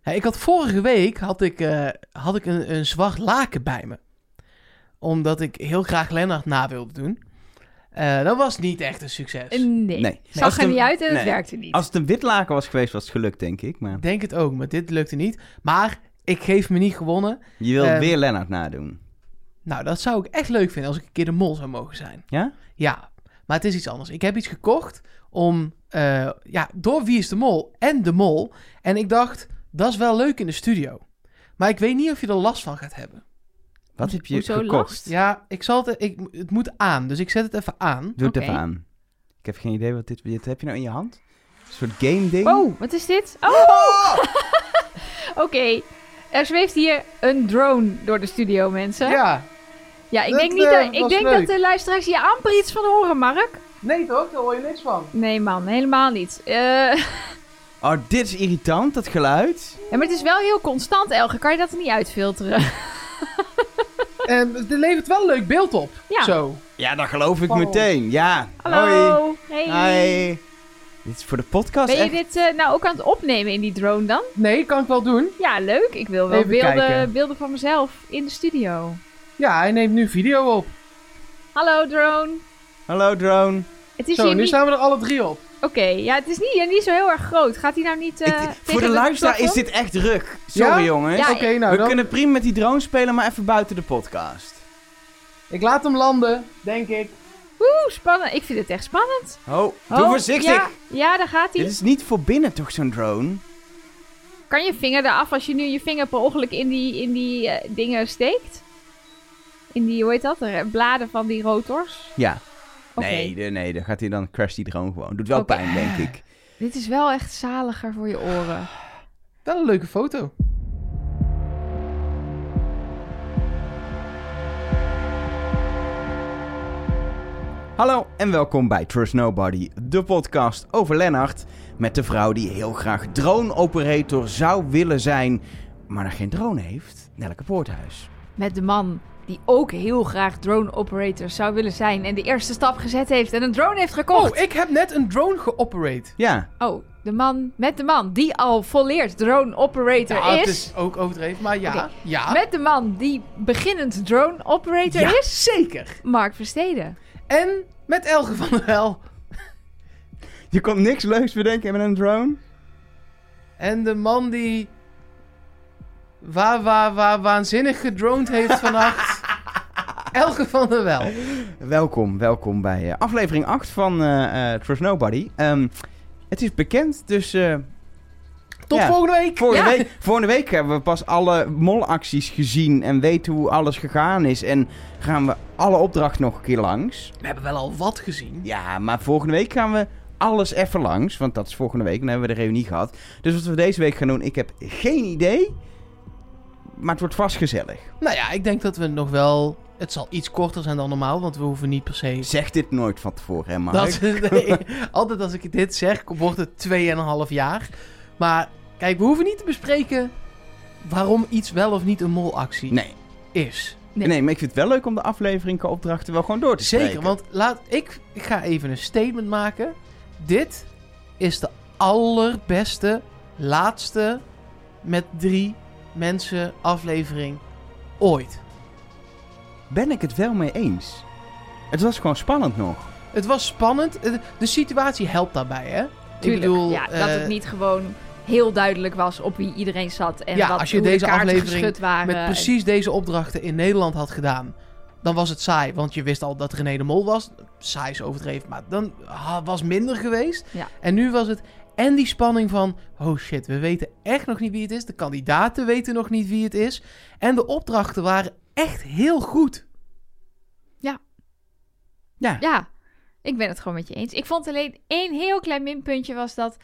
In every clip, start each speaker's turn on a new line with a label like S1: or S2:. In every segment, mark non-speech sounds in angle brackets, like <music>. S1: Hey, ik had vorige week had ik, eh, had ik een, een zwart laken bij me. Omdat ik heel graag Lennart na wilde doen. Eh, dat was niet echt een succes.
S2: Eh, Nee.
S3: Nee.
S2: Zag
S3: Als
S2: er
S3: de-
S2: niet uit en het
S3: nee.
S2: werkte niet.
S3: Als het een wit laken was geweest, was het gelukt, denk ik. Maar
S1: Ik denk het ook, maar dit lukte niet. Maar ik geef me niet gewonnen.
S3: je wil
S1: Ehm,
S3: weer Lennart nadoen.
S1: Nou, dat zou ik echt leuk vinden als ik een keer de mol zou mogen zijn.
S3: Ja?
S1: Ja, maar het is iets anders. Ik heb iets gekocht om, eh, ja, door Wie is de Mol en de Mol. En ik dacht, dat is wel leuk in de studio. Maar ik weet niet of je er last van gaat hebben.
S3: Wat heb je
S2: Hoezo
S3: gekocht?
S2: last?
S1: Ja, ik zal het, e- ik, het moet aan, dus ik zet het even aan.
S3: Doe het
S2: Oké.
S3: even aan. Ik heb geen idee wat dit... Dit heb je nou in je hand? Een soort game ding?
S2: Oh, wat is dit? Oh! <laughs> Oké. Er zweeft hier een drone door de studio, mensen. Ja,
S1: Ja,
S2: ik
S1: dat,
S2: denk, niet
S1: eh,
S2: dat, ik
S1: was
S2: denk
S1: leuk.
S2: dat de luisteraars hier amper iets van horen, Mark.
S1: nee toch? Daar hoor je niks van.
S2: Nee, man, helemaal niet. Eh, <laughs>
S3: Oh, dit is irritant, dat geluid.
S2: ja, maar het is wel heel constant, Elge. Kan je dat er niet uitfilteren? <laughs>
S1: En dit Ehm, levert wel een leuk beeld op.
S2: Ja.
S1: Zo.
S3: Ja, dat geloof ik
S1: Hallo.
S3: meteen. Ja. Hoi.
S2: Hallo. Hey.
S3: Hi. Dit is voor de podcast
S2: Ben je
S3: echt...
S2: dit eh, nou ook aan het opnemen in die drone dan?
S1: Nee, kan ik wel doen.
S2: Ja, leuk. Ik wil wel
S1: Even
S2: beelden,
S1: kijken.
S2: beelden van mezelf in de studio.
S1: Ja, hij neemt nu video op.
S2: Hallo, drone.
S3: Hallo, drone.
S2: Het is
S1: Zo,
S2: hier
S1: nu
S2: niet...
S1: staan we er alle drie op.
S2: Oké, ja, het is niet, ja, niet zo heel erg groot. Gaat hij nou niet... eh,
S3: Ik-
S2: tegen
S3: voor de
S2: het
S3: luisteraar is
S2: plafond?
S3: dit echt druk. Sorry,
S1: Ja?
S3: jongens.
S2: Ja,
S1: Oké, nou
S3: We
S1: dan.
S3: kunnen prima met die drone spelen, maar even buiten de podcast.
S1: Ik laat hem landen, denk ik.
S2: Oeh, spannend. Ik vind het echt spannend.
S3: Oh, doe
S2: Oh,
S3: voorzichtig.
S2: Ja, ja, daar gaat hij.
S3: Dit is niet voor binnen toch, zo'n drone?
S2: Kan je vinger eraf als je nu je vinger per ongeluk in die, in die eh, dingen steekt? In die, hoe heet dat? De bladen van die rotors?
S3: Ja.
S2: Oké.
S3: Nee, de- nee, dan gaat hij dan crash die drone gewoon. Doet wel
S2: Oké.
S3: pijn, denk ik.
S2: Dit is wel echt zaliger voor je oren.
S1: Wel een leuke foto.
S3: Hallo en welkom bij Trust Nobody, de podcast over Lennart. Met de vrouw die heel graag drone-operator zou willen zijn, maar nog geen drone heeft. Nelke Poorthuis.
S2: Met de man die ook heel graag drone operator zou willen zijn en de eerste stap gezet heeft en een drone heeft gekocht.
S1: Oh, ik heb net een drone geoperate.
S3: Ja,
S2: Oh, de man met de man die al volleerd drone operator
S1: Ja,
S2: is.
S1: het is ook overdreven, maar ja.
S2: Oké.
S1: Ja,
S2: Met de man die beginnend drone operator
S1: Ah. ja
S2: is.
S1: zeker.
S2: Mark Versteden.
S1: En met Elge van der Hel.
S3: je kon niks leuks bedenken met een drone.
S1: En de man die... Waar, waar, waar, waanzinnig gedroned heeft
S3: <laughs>
S1: vannacht. Elge van der Wel.
S3: Welkom, welkom bij eh, aflevering 8 van eh, eh, Trust Nobody. Ehm, het is bekend, dus eh,
S1: Tot
S3: Ja.
S1: volgende week.
S3: Vorige,
S1: Ja.
S3: week, vorige week hebben we pas alle molacties gezien en weten hoe alles gegaan is. En gaan we alle opdrachten nog een keer langs.
S1: We hebben wel al wat gezien.
S3: Ja, maar volgende week gaan we alles even langs. Want dat is volgende week, dan hebben we de reunie gehad. Dus wat we deze week gaan doen, ik heb geen idee. Maar het wordt vast gezellig.
S1: Nou ja, ik denk dat we nog wel... Het zal iets korter zijn dan normaal, want we hoeven niet per se...
S3: Zeg dit nooit van tevoren, hè Mark?
S1: Dat, <laughs> nee, altijd als ik dit zeg, wordt het 2,5 jaar. Maar kijk, we hoeven niet te bespreken waarom iets wel of niet een molactie
S3: Nee.
S1: is.
S3: nee.
S2: Nee.
S3: maar ik vind het wel leuk om de aflevering qua opdrachten wel gewoon door te
S1: Zeker,
S3: spreken.
S1: want laat, ik, ik ga even een statement maken. Dit is de allerbeste, laatste met drie mensen aflevering ooit.
S3: Ben ik het wel mee eens? Het was gewoon spannend nog.
S1: Het was spannend. Eh, De situatie helpt daarbij, hè?
S2: Tuurlijk.
S1: ik bedoel,
S2: ja, dat
S1: eh,
S2: het niet gewoon heel duidelijk was op wie iedereen zat. En
S1: Ja,
S2: wat,
S1: als je
S2: hoe
S1: deze
S2: de kaarten
S1: aflevering
S2: geschud waren.
S1: met precies deze opdrachten in Nederland had gedaan, dan was het saai. Want je wist al dat René de Mol was. Saai is overdreven, maar dan ah, was minder geweest.
S2: Ja.
S1: En nu was het. En die spanning van, oh shit, we weten echt nog niet wie het is. De kandidaten weten nog niet wie het is. En de opdrachten waren echt heel goed.
S3: Ja.
S2: Ja, ik ben het gewoon met je eens. Ik vond alleen één heel klein minpuntje was dat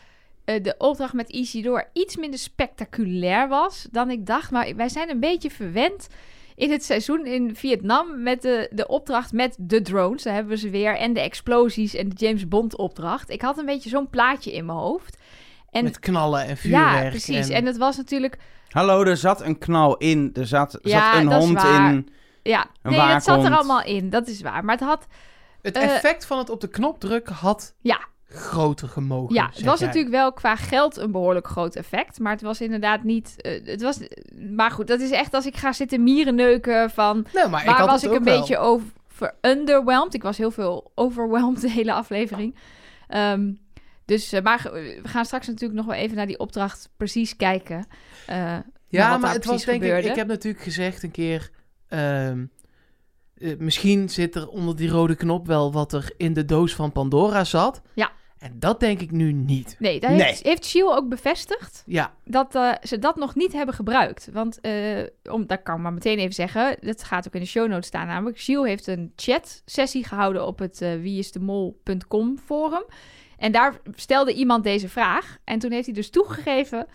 S2: eh, de opdracht met Isidor iets minder spectaculair was dan ik dacht. Maar wij zijn een beetje verwend in het seizoen in Vietnam met de, de opdracht met de drones. Daar hebben we ze weer. En de explosies en de James Bond opdracht. Ik had een beetje zo'n plaatje in mijn hoofd. En
S1: Met knallen en vuurwerk.
S2: ja, precies. En het was natuurlijk...
S3: Hallo, er zat een knal in. Er zat, zat
S2: Ja,
S3: een
S2: dat is
S3: hond
S2: waar.
S3: in.
S2: Ja,
S3: Een
S2: nee, dat zat er
S3: waakhond.
S2: allemaal in. Dat is waar. Maar het had...
S1: het
S2: eh,
S1: effect van het op de knop drukken had
S2: Ja,
S1: groter gemogen.
S2: Ja, het
S1: zeg
S2: was
S1: jij.
S2: natuurlijk wel qua geld een behoorlijk groot effect. Maar het was inderdaad niet. eh, het was, maar goed, dat is echt als ik ga zitten mieren neuken van.
S1: Nee, maar ik
S2: Waar
S1: had
S2: was
S1: het
S2: ik een
S1: ook wel.
S2: beetje over underwhelmed? Ik was heel veel overwhelmed de <laughs> hele aflevering. Ehm, dus, eh, maar ge- we gaan straks natuurlijk nog wel even naar die opdracht precies kijken. Eh, Nou,
S1: Ja,
S2: wat
S1: maar
S2: daar
S1: het was
S2: precies
S1: denk ik...
S2: gebeurde.
S1: Ik heb natuurlijk gezegd een keer... ehm, eh, misschien zit er onder die rode knop wel wat er in de doos van Pandora zat.
S2: Ja.
S1: En dat denk ik nu niet.
S2: nee, daar
S3: Nee.
S2: heeft, heeft Shiel ook bevestigd.
S1: Ja,
S2: dat eh, ze dat nog niet hebben gebruikt. Want, eh, om, dat kan ik maar meteen even zeggen, dat gaat ook in de show notes staan namelijk. Gilles heeft een chat-sessie gehouden op het eh wieisdemol.com forum. En daar stelde iemand deze vraag. En toen heeft hij dus toegegeven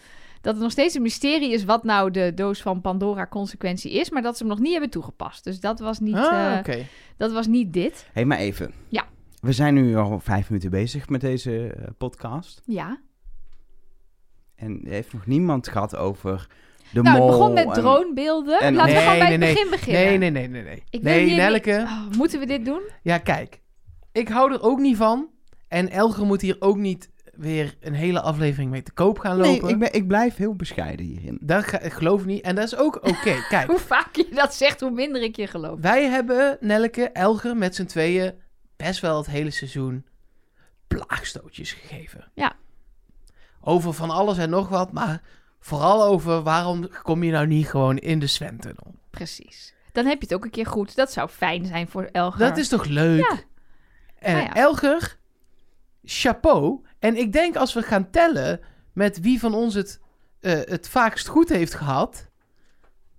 S2: dat het nog steeds een mysterie is... wat nou de doos van Pandora-consequentie is, maar dat ze hem nog niet hebben toegepast. Dus dat was niet,
S1: ah,
S2: eh,
S1: oké.
S2: dat was niet dit.
S3: Hé, maar even.
S2: Ja.
S3: We zijn nu al vijf minuten bezig met deze eh, podcast.
S2: Ja.
S3: En er heeft nog niemand gehad over de
S2: nou, het
S3: mol.
S2: begon met
S3: en-
S2: dronebeelden.
S3: en-
S2: Laten we
S1: Nee,
S2: gewoon bij
S1: nee,
S2: het begin beginnen.
S1: Nee, nee, nee, nee. Nee,
S2: Ik wil
S1: nee
S2: hier niet-
S1: Nelke.
S2: Oh, moeten we dit doen?
S1: Ja, kijk. Ik hou er ook niet van. En Elger moet hier ook niet weer een hele aflevering mee te koop gaan
S3: Nee,
S1: lopen.
S3: ik, ben, ik blijf heel bescheiden hierin.
S1: Dat ga, ik geloof niet. En dat is ook oké.
S2: <laughs>
S1: Kijk,
S2: Hoe vaker je dat zegt, hoe minder ik je geloof.
S1: wij hebben Nelke, Elger met z'n tweeën best wel het hele seizoen plaagstootjes gegeven.
S2: Ja.
S1: Over van alles en nog wat, maar vooral over waarom kom je nou niet gewoon in de zwemtunnel?
S2: Precies. Dan heb je het ook een keer goed. Dat zou fijn zijn voor Elger.
S1: Dat is toch leuk?
S2: Ja.
S1: En
S2: Nou ja.
S1: Elger, chapeau. En ik denk als we gaan tellen met wie van ons het, eh, het vaakst goed heeft gehad.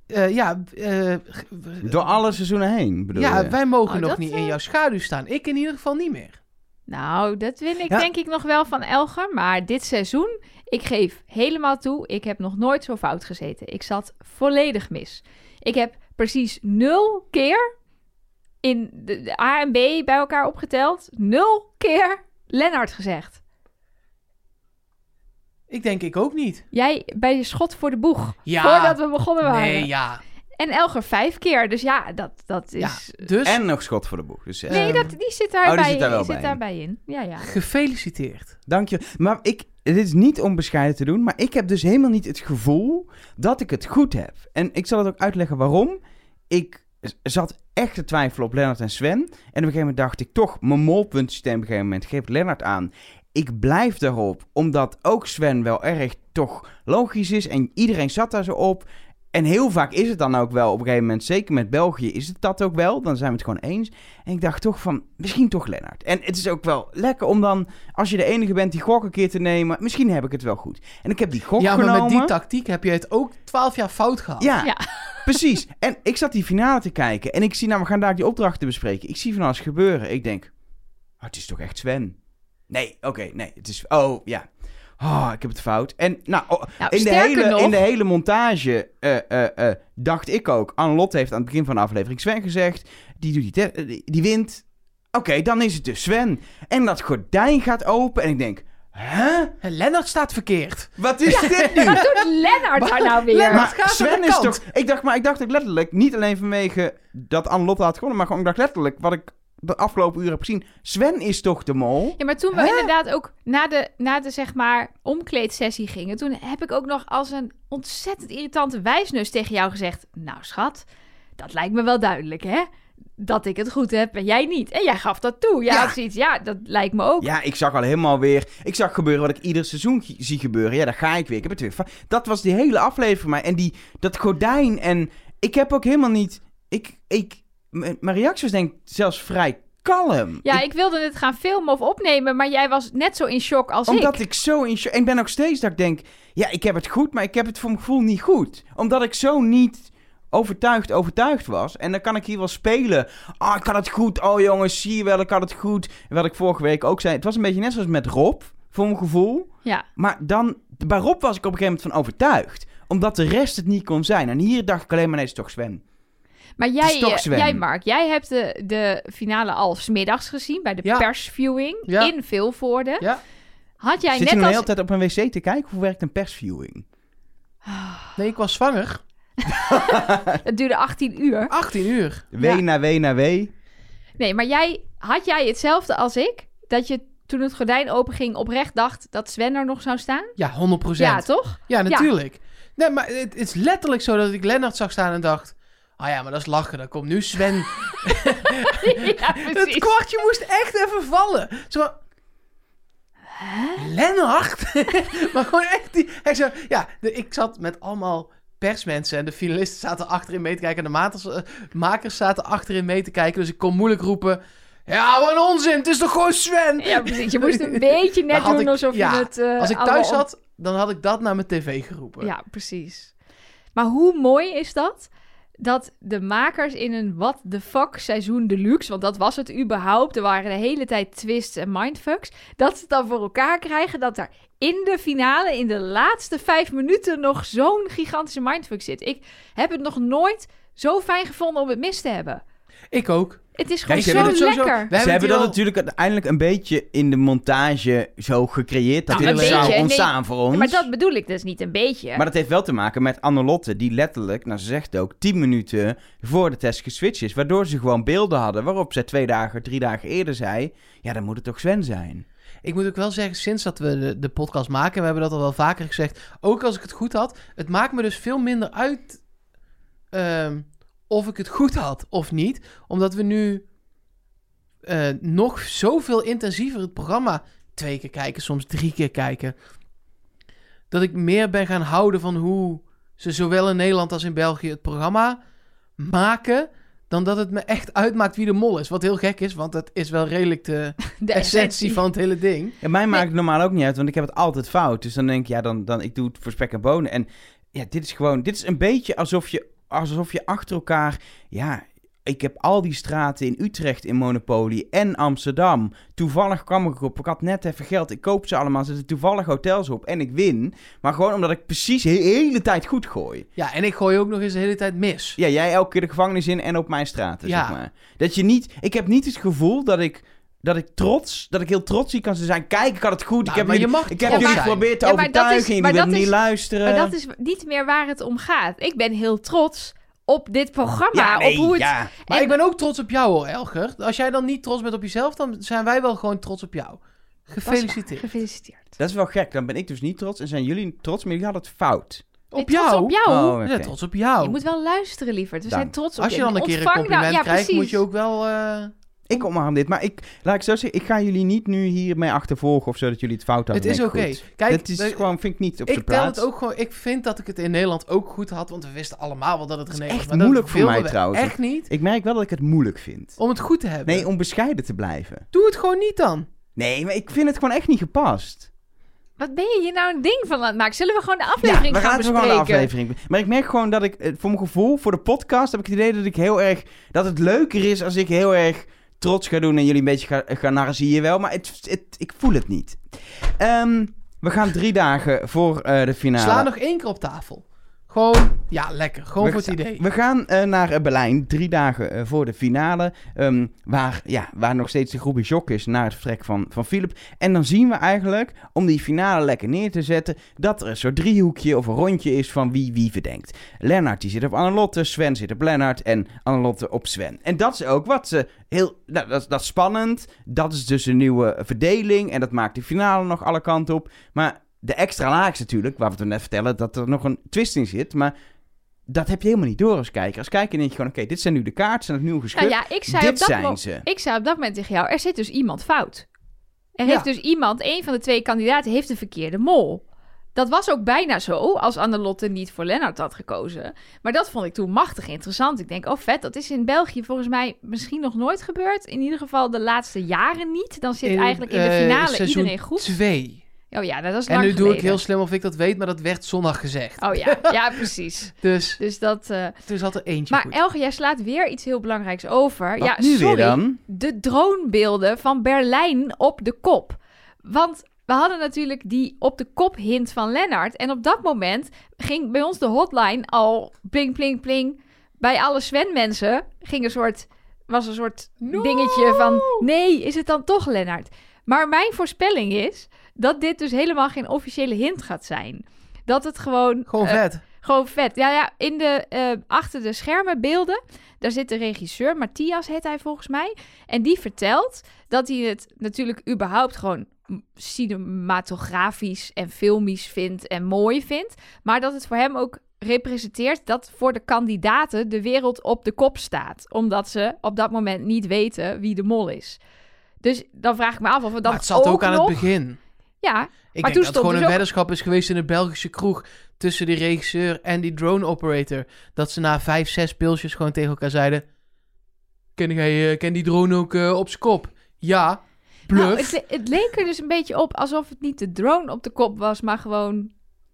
S1: eh, ja, eh, g- w-
S3: Door alle seizoenen heen, bedoel
S1: ja
S3: je?
S1: wij mogen
S2: Oh,
S1: nog
S2: dat,
S1: niet
S2: eh,
S1: in jouw schaduw staan. Ik in ieder geval niet meer.
S2: Nou, dat wil ik
S3: Ja.
S2: denk ik nog wel van Elger. Maar dit seizoen, ik geef helemaal toe, ik heb nog nooit zo fout gezeten. Ik zat volledig mis. Ik heb precies nul keer in de, de A en B bij elkaar opgeteld, nul keer Lennart gezegd.
S1: Ik denk ik ook niet.
S2: Jij bij je schot voor de boeg,
S1: Ja.
S2: voordat we begonnen waren.
S1: Nee, ja.
S2: En Elger vijf keer, dus ja, dat, dat is... eh,
S1: ja. Dus
S3: En nog schot voor de boeg. Dus, eh,
S2: Nee,
S1: Ehm,
S2: dat, die zit
S3: oh, die
S2: daarbij
S3: zit daar
S2: in.
S3: wel
S2: Die zit
S3: bij in.
S2: daarbij in. Ja,
S3: <laughs>
S2: ja.
S1: gefeliciteerd.
S3: Dank je. Maar ik, dit is niet om bescheiden te doen, maar ik heb dus helemaal niet het gevoel dat ik het goed heb. En ik zal het ook uitleggen waarom. Ik z- zat echt te twijfelen op Lennart en Sven. En op een gegeven moment dacht ik toch, mijn molpuntensysteem op een gegeven moment geeft Lennart aan. Ik blijf daarop, omdat ook Sven wel erg toch logisch is en iedereen zat daar zo op. En heel vaak is het dan ook wel op een gegeven moment, zeker met België, is het dat ook wel. Dan zijn we het gewoon eens. En ik dacht toch van, misschien toch Lennart. En het is ook wel lekker om dan, als je de enige bent die gok een keer te nemen, misschien heb ik het wel goed. En ik heb die gok
S1: ja, maar
S3: genomen.
S1: met die tactiek heb je het ook twaalf jaar fout gehad.
S3: ja,
S2: Ja.
S3: <laughs> precies. En ik zat die finale te kijken en ik zie, nou, we gaan daar die opdrachten bespreken. Ik zie van alles gebeuren. Ik denk, oh, het is toch echt Sven? Nee, oké, nee, het is, oh, ja. Oh, ik heb het fout. En nou, oh,
S2: Nou,
S3: in, de
S2: sterker
S3: hele,
S2: nog,
S3: in de hele montage eh, eh, eh, dacht ik ook. Anne-Lotte heeft aan het begin van de aflevering Sven gezegd. Die, doet die, te- eh, die, die wint. Oké, dan is het dus Sven. En dat gordijn gaat open. En ik denk, hè?
S1: En Lennart staat verkeerd.
S3: Wat is dit nu?
S2: wat doet Lennart daar nou weer?
S1: Lennart-
S3: Maar
S1: gaat aan
S3: Sven
S1: de
S3: is
S1: kant.
S3: toch... Ik dacht, maar ik dacht ook letterlijk, niet alleen vanwege dat Anne-Lotte had gewonnen, maar gewoon, ik dacht letterlijk, wat ik de afgelopen uren heb gezien. Sven is toch de mol?
S2: Ja, maar toen we inderdaad ook na de, na de zeg maar omkleedsessie gingen, toen heb ik ook nog als een ontzettend irritante wijsneus tegen jou gezegd: Nou, schat, dat lijkt me wel duidelijk, hè? Dat ik het goed heb en jij niet. En jij gaf dat toe. Ja,
S3: Ja.
S2: zoiets. Ja, dat lijkt me ook.
S3: Ja, ik zag al helemaal weer. Ik zag gebeuren wat ik ieder seizoen ge- zie gebeuren. Ja, daar ga ik weer. Ik heb het weer. va- Dat was die hele aflevering voor mij. En die, dat gordijn. En ik heb ook helemaal niet. Ik, ik, m- mijn reactie was denk ik zelfs vrij kalm.
S2: Ja,
S3: Ik-
S2: ik wilde het gaan filmen of opnemen, maar jij was net zo in shock als
S3: omdat
S2: ik.
S3: ik zo in. sho- en Ik ben nog steeds dat ik denk. Ja, ik heb het goed, maar ik heb het voor mijn gevoel niet goed. Omdat ik zo niet overtuigd overtuigd was. En dan kan ik hier wel spelen. Ah, ik had het goed. Oh jongens, zie je wel, ik had het goed. En wat ik vorige week ook zei. Het was een beetje net zoals met Rob. Voor mijn gevoel.
S2: Ja,
S3: Maar dan, bij Rob was ik op een gegeven moment van overtuigd. Omdat de rest het niet kon zijn. En hier dacht ik alleen maar, nee, het is toch Sven.
S2: maar
S3: Het
S2: jij,
S3: is toch
S2: eh,
S3: Sven.
S2: jij Mark, jij hebt de, de finale al 's middags gezien bij de
S1: Ja.
S2: persviewing
S1: Ja.
S2: in Vilvoorde.
S1: Ja.
S2: Had jij
S3: Zit je
S2: net
S3: nou de
S2: als...
S3: hele tijd op een wc te kijken? Hoe werkt een persviewing?
S1: Nee, ik was zwanger.
S2: <sighs> Het duurde 18 uur.
S1: 18 uur.
S3: W
S2: Ja.
S3: na W na W.
S2: Nee, maar jij, had jij hetzelfde als ik? Dat je toen het gordijn openging, oprecht dacht dat Sven er nog zou staan?
S1: Ja, 100
S2: Ja,
S1: <laughs>
S2: toch?
S1: Ja, natuurlijk. Nee, maar het, het is letterlijk zo dat ik Lennart zag staan en dacht... Ah ja, maar dat is lachen. Dan komt nu Sven.
S2: ja,
S1: het
S2: <laughs> precies.
S1: kwartje moest echt even vallen. Zo van, Lennart? <laughs> maar gewoon echt die... Hij zo, ja, de- ik zat met allemaal persmensen en de finalisten zaten achterin mee te kijken. En de maters, eh, makers zaten achterin mee te kijken. Dus ik kon moeilijk roepen... Ja, wat een onzin. Het is toch gewoon Sven?
S2: Ja, precies. Je
S1: <laughs>
S2: moest een beetje net
S1: Dan had
S2: doen
S1: ik-
S2: alsof
S1: ja,
S2: je het. eh,
S1: Als ik
S2: allemaal
S1: thuis
S2: om-
S1: zat, dan had ik dat naar mijn tv geroepen.
S2: Ja, precies. Maar hoe mooi is dat? Dat de makers in een what the fuck seizoen deluxe, want dat was het überhaupt. Er waren de hele tijd twists en mindfucks. Dat ze het dan voor elkaar krijgen dat er in de finale, in de laatste vijf minuten, nog zo'n gigantische mindfuck zit. Ik heb het nog nooit zo fijn gevonden om het mis te hebben.
S1: Ik ook.
S2: Het is gewoon
S3: ze
S2: zo
S3: hebben
S1: het sowieso-
S2: lekker.
S1: We
S3: Ze
S1: hebben het
S3: hebben dat
S1: hier al-
S3: natuurlijk uiteindelijk een beetje in de montage zo gecreëerd. Dat
S2: Nou,
S3: dit
S2: een
S3: zou
S2: beetje,
S3: ontstaan voor ons.
S2: Ja, maar dat bedoel ik dus niet een beetje.
S3: Maar dat heeft wel te maken met Annelotte, die letterlijk, nou ze zegt ook, 10 minuten voor de test geswitcht is. Waardoor ze gewoon beelden hadden waarop ze twee dagen, drie dagen eerder zei, ja dan moet het toch Sven zijn.
S1: Ik moet ook wel zeggen, sinds dat we de, de podcast maken, we hebben dat al wel vaker gezegd, ook als ik het goed had, het maakt me dus veel minder uit ehm, of ik het goed had of niet, omdat we nu eh, nog zoveel intensiever het programma twee keer kijken, soms drie keer kijken, dat ik meer ben gaan houden van hoe ze zowel in Nederland als in België het programma maken, dan dat het me echt uitmaakt wie de mol is. Wat heel gek is, want dat is wel redelijk de
S2: de
S1: essentie van het hele ding.
S3: En mij maakt het normaal ook niet uit, want ik heb het altijd fout. Dus dan denk ik, ja dan, dan ik doe het voor spek en bonen. En ja, dit is gewoon, dit is een beetje alsof je, alsof je achter elkaar, ja... Ik heb al die straten in Utrecht in Monopoly en Amsterdam. Toevallig kwam ik op. Ik had net even geld. Ik koop ze allemaal. Er zitten toevallig hotels op. En ik win. Maar gewoon omdat ik precies de hele tijd goed gooi.
S1: Ja, en ik gooi ook nog eens de hele tijd mis.
S3: Ja, jij elke keer de gevangenis in en op mijn straten,
S1: Ja.
S3: zeg maar. Dat je niet... Ik heb niet het gevoel dat ik... Dat ik trots, dat ik heel trots hier kan zijn. Kijk, ik had het goed.
S1: Nou,
S3: ik heb
S1: maar je
S3: jullie,
S1: mag
S3: ik heb
S1: trots
S3: jullie
S1: zijn.
S3: geprobeerd te
S2: Ja, maar dat
S3: overtuigen.
S2: is-
S3: jullie
S2: maar
S3: willen
S2: dat
S3: niet
S2: is-
S3: luisteren.
S2: Maar
S1: Eh.
S2: dat is niet meer waar het om gaat. Ik ben heel trots op dit programma.
S3: ja, nee,
S2: op hoe het...
S3: ja.
S1: Maar
S2: en-
S1: ik ben ook trots op jou hoor, Elger. Als jij dan niet trots bent op jezelf, dan zijn wij wel gewoon trots op jou.
S2: Dat is
S1: Gefeliciteerd.
S2: waar. Gefeliciteerd.
S3: Dat is wel gek. Dan ben ik dus niet trots en zijn jullie trots, maar jullie hadden het fout.
S1: Op
S2: Nee, trots
S1: jou?
S2: Op jou.
S3: Oh,
S1: We
S3: oké.
S1: zijn trots op jou.
S2: Je moet wel luisteren, lieverd. We
S3: Dank.
S2: zijn trots op
S1: Als je
S2: je.
S1: dan een keer een
S2: Ontvang nou-
S1: compliment
S2: ja,
S1: krijgt,
S2: precies.
S1: moet je ook wel... eh,
S3: Ik omarm dit. Maar ik, laat ik zo zeggen, ik ga jullie niet nu hiermee achtervolgen of zo dat jullie het fout
S1: Het
S3: hadden.
S1: is
S3: Nee,
S1: oké.
S3: goed.
S1: Kijk,
S3: Dat is
S1: we-
S3: gewoon, vind ik niet op zijn
S1: ik tel
S3: plaats.
S1: het ook gewoon... Ik vind dat ik het in Nederland ook goed had, want we wisten allemaal wel dat het
S3: is
S1: René was.
S3: echt
S1: maar dat
S3: moeilijk voor
S1: wilden
S3: mij
S1: we
S3: trouwens.
S1: Echt niet.
S3: Ik merk wel dat ik het moeilijk vind.
S1: Om het goed te hebben.
S3: Nee, om bescheiden te blijven.
S1: Doe het gewoon niet dan.
S3: Nee, maar ik vind het gewoon echt niet gepast.
S2: Wat ben je hier nou een ding van aan het maken? Zullen we gewoon de aflevering
S3: we
S2: gaan
S3: laten we gewoon de
S2: bespreken?
S3: aflevering. be- Maar ik merk gewoon dat ik, eh, voor mijn gevoel, voor de podcast, heb ik het idee dat ik heel erg. dat het leuker is als ik heel erg trots ga doen en jullie een beetje ga, ga narren, zie je wel. Maar het, het- ik voel het niet. Ehm, we gaan drie dagen voor eh, de finale.
S1: Sla nog één keer op tafel. Gewoon... Ja, lekker. Gewoon
S3: We-
S1: voor het idee.
S3: We gaan eh, naar eh, Berlijn, drie dagen eh, voor de finale. ehm, waar, ja, waar nog steeds de groep in shock is na het vertrek van, van Philip. En dan zien we eigenlijk, om die finale lekker neer te zetten, dat er een soort driehoekje of een rondje is van wie wie verdenkt. Lennart die zit op Annelotte, Sven zit op Lennart en Annelotte op Sven. En dat is ook wat ze heel, nou, dat, is- dat is spannend. Dat is dus een nieuwe verdeling en dat maakt de finale nog alle kanten op. Maar de extra laag is natuurlijk, waar we het net vertellen, dat er nog een twist in zit. Maar dat heb je helemaal niet door als kijker. Als kijker denk je gewoon, oké, dit zijn nu de kaarten, zijn het nu geschud.
S2: Nou ja, ik zei, op
S3: dit
S2: dat
S3: zijn
S2: mo-
S3: ze.
S2: ik zei op dat moment tegen jou, er zit dus iemand fout. Er
S1: Ja.
S2: heeft dus iemand, een van de twee kandidaten, heeft de verkeerde mol. Dat was ook bijna zo, als Annelotte niet voor Lennart had gekozen. Maar dat vond ik toen machtig interessant. Ik denk, oh vet, dat is in België volgens mij misschien nog nooit gebeurd. In ieder geval de laatste jaren niet. Dan zit eigenlijk in de
S1: eh,
S2: finale
S1: seizoen
S2: iedereen goed.
S1: twee.
S2: Oh ja, nou, dat is
S1: En
S2: lang
S1: nu doe ik
S2: geleden.
S1: heel slim of ik dat weet, maar dat werd zondag gezegd.
S2: Oh ja, ja precies.
S1: Dus
S2: Dus dat... eh,
S1: toen zat er eentje
S2: Maar
S1: goed.
S2: Elge, jij slaat weer iets heel belangrijks over.
S3: Wat
S2: ja,
S3: nu
S2: sorry.
S3: weer dan?
S2: de dronebeelden van Berlijn op de kop. Want we hadden natuurlijk die op de kop hint van Lennart. En op dat moment ging bij ons de hotline al pling, pling, pling. Bij alle Sven-mensen ging een soort, was een soort
S1: No!
S2: dingetje van... Nee, is het dan toch Lennart? Maar mijn voorspelling is dat dit dus helemaal geen officiële hint gaat zijn. Dat het gewoon...
S1: Gewoon
S2: eh,
S1: vet.
S2: Gewoon vet. Ja, ja in de, eh, achter de schermen beelden, daar zit de regisseur, Matthias heet hij volgens mij. En die vertelt dat hij het natuurlijk überhaupt gewoon cinematografisch en filmisch vindt en mooi vindt. Maar dat het voor hem ook representeert dat voor de kandidaten de wereld op de kop staat. Omdat ze op dat moment niet weten wie de mol is. Dus dan vraag ik me af of we dan
S1: maar het zat ook, aan
S2: nog...
S1: het begin.
S2: Ja,
S1: Ik
S2: Maar
S1: denk
S2: toen
S1: dat
S2: stond
S1: het gewoon
S2: dus
S1: een
S2: ook-
S1: weddenschap is geweest in een Belgische kroeg tussen die regisseur en die drone operator. Dat ze na vijf, zes pilsjes gewoon tegen elkaar zeiden: Ken, jij, eh, ken die drone ook eh, op zijn kop? Ja, bluff.
S2: Nou, het, het leek er dus een beetje op alsof het niet de drone op de kop was, maar gewoon...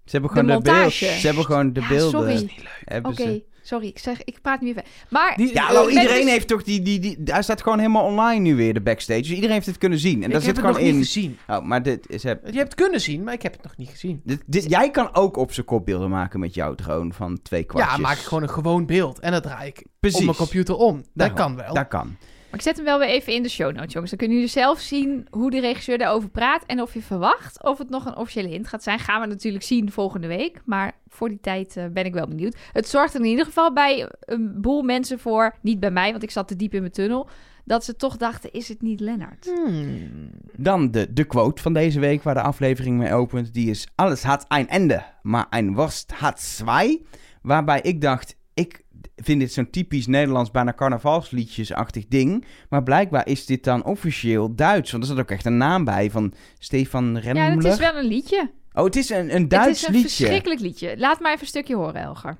S3: Ze hebben gewoon de, beelden.
S2: montage.
S3: Ze hebben gewoon de
S2: Ja,
S3: beelden.
S2: sorry.
S1: niet leuk.
S3: Hebben
S2: Oké,
S3: ze.
S2: sorry, ik, zeg, ik praat niet meer verder. Maar
S1: Die-
S3: Ja,
S1: eh,
S3: hallo,
S2: ik ben
S3: iedereen
S2: dus-
S3: heeft toch die, die, die... Hij staat gewoon helemaal online nu weer, de backstage. Dus iedereen heeft het kunnen zien. En
S1: ik
S3: daar
S1: heb
S3: zit
S1: het
S3: gewoon
S1: nog
S3: in...
S1: niet gezien.
S3: Oh, maar dit is... heb-
S1: Je hebt het kunnen zien, maar ik heb het nog niet gezien.
S3: Dit, dit- jij kan ook op zijn kop beelden maken met jouw drone van twee kwartjes.
S1: Ja, maak ik gewoon een gewoon beeld en dat draai ik
S3: Precies.
S1: op mijn computer om. Dat
S3: Daarom.
S1: kan wel.
S3: Dat kan.
S2: Maar ik zet hem wel weer even in de show notes, jongens. Dan kunnen jullie zelf zien hoe de regisseur daarover praat. En of je verwacht of het nog een officiële hint gaat zijn. Gaan we natuurlijk zien volgende week. Maar voor die tijd eh, ben ik wel benieuwd. Het zorgt er in ieder geval bij een boel mensen voor. Niet bij mij, want ik zat te diep in mijn tunnel. Dat ze toch dachten, is het niet Lennart?
S1: Hmm.
S3: Dan de, de quote van deze week, waar de aflevering mee opent. Die is: Alles had een einde, maar een worst had zwei. Waarbij ik dacht: Ik vind dit zo'n typisch Nederlands, bijna carnavalsliedjesachtig ding. Maar blijkbaar is dit dan officieel Duits. Want er zat ook echt een naam bij van Stefan Remmler.
S2: Ja, het is wel een liedje.
S3: Oh, het is een, een Duits
S2: het is een
S3: liedje.
S2: verschrikkelijk liedje. Laat maar even een stukje horen, Elger.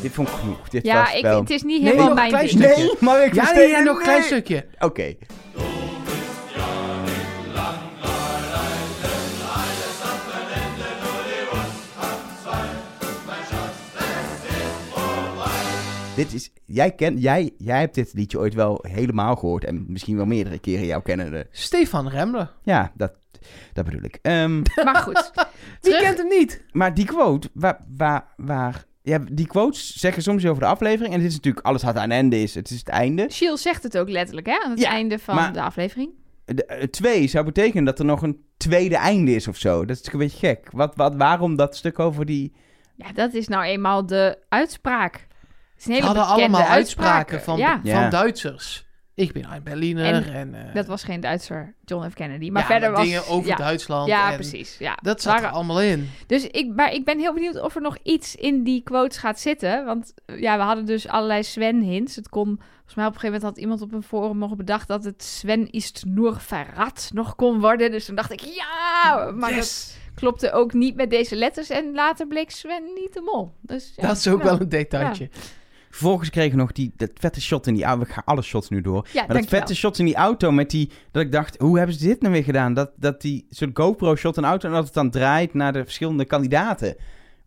S3: Dit vond ik genoeg. Dit
S2: Ja,
S3: was
S2: ik,
S3: wel...
S2: het is niet
S1: Nee,
S2: helemaal
S1: nog een
S2: mijn
S1: klein
S2: ding.
S1: stukje.
S3: Nee, maar ik
S1: Ja,
S3: versteek
S1: nee, ja,
S3: het
S1: nog een klein
S3: niet.
S1: stukje.
S3: Oké. Dit is, jij, kent, jij, jij hebt dit liedje ooit wel helemaal gehoord en misschien wel meerdere keren jou kennende.
S1: Stefan Remmler.
S3: Ja, dat, dat bedoel ik. Ehm,
S2: Maar
S3: <laughs>
S2: goed.
S1: Wie
S2: Terug-
S1: kent hem niet?
S3: maar die quote, waar, waar, waar, ja, die quotes zeggen soms iets over de aflevering en dit is natuurlijk, alles had een einde is, het is het einde.
S2: Shiel zegt het ook letterlijk, hè? Aan het
S3: Ja,
S2: einde van
S3: maar-
S2: de aflevering.
S3: de, eh, twee zou betekenen dat er nog een tweede einde is of zo. Dat is een beetje gek. Wat, wat, waarom dat stuk over die...
S2: Ja, dat is nou eenmaal de uitspraak. Het is een
S1: Ze
S2: hele
S1: hadden
S2: bekende
S1: allemaal uitspraken
S2: uitspraak.
S1: van,
S2: Ja,
S3: Ja.
S1: van Duitsers. Ik ben een Berliner. En, eh,
S2: dat was geen Duitser, John F. Kennedy. Maar
S1: ja,
S2: verder was...
S1: dingen over
S2: ja,
S1: Duitsland.
S2: Ja,
S1: en
S2: precies. Ja.
S1: Dat zat er
S2: Waren-
S1: allemaal in.
S2: Dus ik, maar ik ben heel benieuwd of er nog iets in die quotes gaat zitten. Want eh, ja, we hadden dus allerlei Sven-hints. Het kon, volgens mij op een gegeven moment had iemand op een forum nog bedacht... dat het Sven ist nur verrat nog kon worden. Dus toen dacht ik, ja! Maar
S1: Yes!
S2: dat klopte ook niet met deze letters. En later bleek Sven niet de mol. Dus, ja,
S1: dat is ook
S2: nou.
S1: wel een detailtje.
S3: Vervolgens kregen we nog die, dat vette shot in die auto. We gaan alle shots nu door.
S2: Ja,
S3: maar dat
S2: dankjewel.
S3: vette shot in die auto met die... Dat ik dacht, hoe hebben ze dit nou weer gedaan? Dat, dat die soort GoPro-shot in de auto... en dat het dan draait naar de verschillende kandidaten.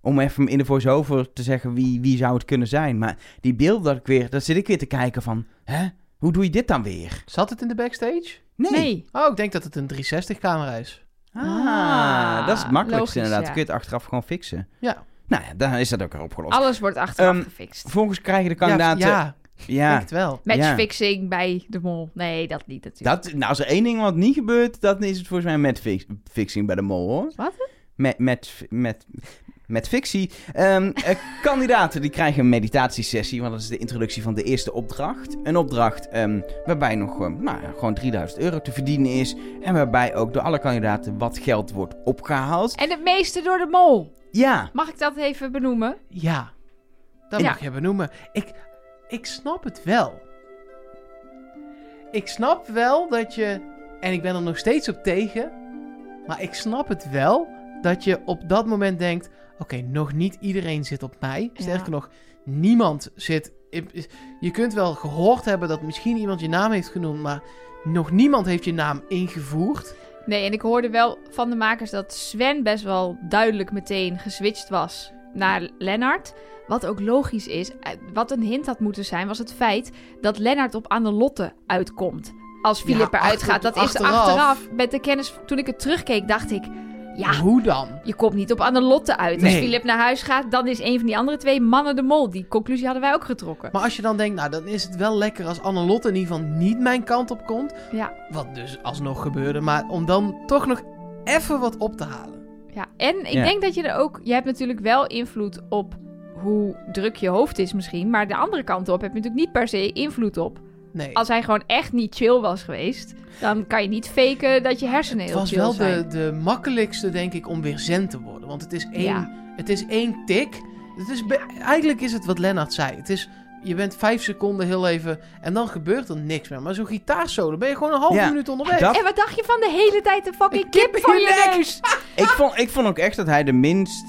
S3: Om even in de voice-over te zeggen wie, wie zou het kunnen zijn. Maar die beelden dat ik weer... Daar zit ik weer te kijken van... Hè? Hoe doe je dit dan weer?
S1: Zat het in de backstage?
S3: Nee.
S2: Nee.
S1: Oh, ik denk dat het een 360-camera is.
S3: Ah, dat is het makkelijkste
S2: Logisch,
S3: inderdaad.
S2: ja.
S3: Dan kun je het achteraf gewoon fixen.
S1: Ja.
S3: Nou ja, dan is dat ook weer opgelost.
S2: Alles wordt achteraf
S3: Ehm,
S2: gefixt.
S3: Vervolgens krijgen de kandidaten...
S1: Ja, ja,
S3: Ja,
S1: denk het wel.
S3: ja.
S2: Matchfixing bij de mol. Nee, dat niet natuurlijk.
S3: Dat, nou, als er één ding wat niet gebeurt, dan is het volgens mij met fix, fixing bij de mol, hoor.
S2: Wat?
S3: Met, met, met, met fictie. Ehm, eh, kandidaten die krijgen een meditatiesessie, want dat is de introductie van de eerste opdracht. Een opdracht ehm, waarbij nog ehm, nou, ja, gewoon 3000 euro te verdienen is. En waarbij ook door alle kandidaten wat geld wordt opgehaald.
S2: En het meeste door de mol.
S3: Ja,
S2: Mag ik dat even benoemen?
S1: Ja. Dat
S2: Ja.
S1: mag je benoemen. Ik, ik snap het wel. Ik snap wel dat je... En ik ben er nog steeds op tegen. Maar ik snap het wel dat je op dat moment denkt... Oké, nog niet iedereen zit op mij.
S2: Ja.
S1: Sterker nog, niemand zit... Je kunt wel gehoord hebben dat misschien iemand je naam heeft genoemd... maar nog niemand heeft je naam ingevoerd.
S2: Nee, en ik hoorde wel van de makers dat Sven best wel duidelijk meteen geswitcht was naar Lennart. Wat ook logisch is. Eh, Wat een hint had moeten zijn, was het feit dat Lennart op Annelotte uitkomt. Als Filip
S1: Ja,
S2: eruit
S1: achter-
S2: gaat. Dat is
S1: achteraf.
S2: achteraf. Met de kennis, toen ik het terugkeek, dacht ik... Ja,
S1: Hoe dan?
S2: je komt niet op Annelotte uit. Als
S1: Nee.
S2: Philip naar huis gaat, dan is een van die andere twee mannen de mol. Die conclusie hadden wij ook getrokken.
S1: Maar als je dan denkt, nou dan is het wel lekker als Annelotte in ieder geval niet mijn kant op komt.
S2: Ja.
S1: Wat dus alsnog gebeurde, maar om dan toch nog even wat op te halen.
S2: Ja, en ik
S3: Ja.
S2: denk dat je er ook... Je hebt natuurlijk wel invloed op hoe druk je hoofd is misschien. Maar de andere kant op heb je natuurlijk niet per se invloed op.
S1: Nee.
S2: Als hij gewoon echt niet chill was geweest... dan kan je niet faken dat je hersenen
S1: het
S2: heel
S1: was
S2: chill
S1: wel
S2: zijn.
S1: de, de makkelijkste, denk ik, om weer zen te worden. Want het is één,
S2: Ja.
S1: het is één tik. Het is be- eigenlijk is het wat Lennart zei. Het is, je bent vijf seconden heel even en dan gebeurt er niks meer. Maar zo'n gitaarsolo ben je gewoon een half
S3: Ja,
S1: minuut onderweg.
S3: dat-
S2: En wat dacht je van de hele tijd de fucking
S1: Een
S2: kip,
S1: kip in
S2: voor
S1: je
S2: je
S1: nek.
S2: neus?
S3: ik, vond, ik vond ook echt dat hij de minst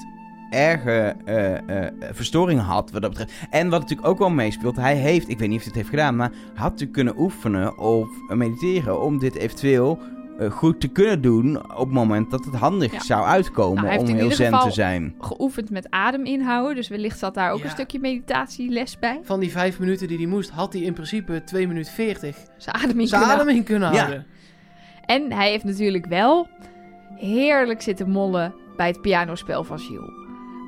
S3: erge eh, eh, verstoring had wat dat betreft. En wat natuurlijk ook wel meespeelt, hij heeft, ik weet niet of hij het heeft gedaan, maar had natuurlijk kunnen oefenen of mediteren om dit eventueel eh, goed te kunnen doen op het moment dat het handig
S2: Ja.
S3: zou uitkomen
S2: Nou, hij
S3: om
S2: heeft in
S3: heel
S2: ieder
S3: zen
S2: geval-
S3: te zijn.
S2: Geoefend met adem inhouden. Dus wellicht zat daar ook
S1: Ja.
S2: een stukje meditatieles bij.
S1: Van die vijf minuten die hij moest, had hij in principe 2 minuten 40
S2: Zijn adem in
S1: zijn
S2: kunnen
S1: adem in kunnen
S3: Ja.
S1: houden.
S2: En hij heeft natuurlijk wel heerlijk zitten mollen bij het pianospel van Jules.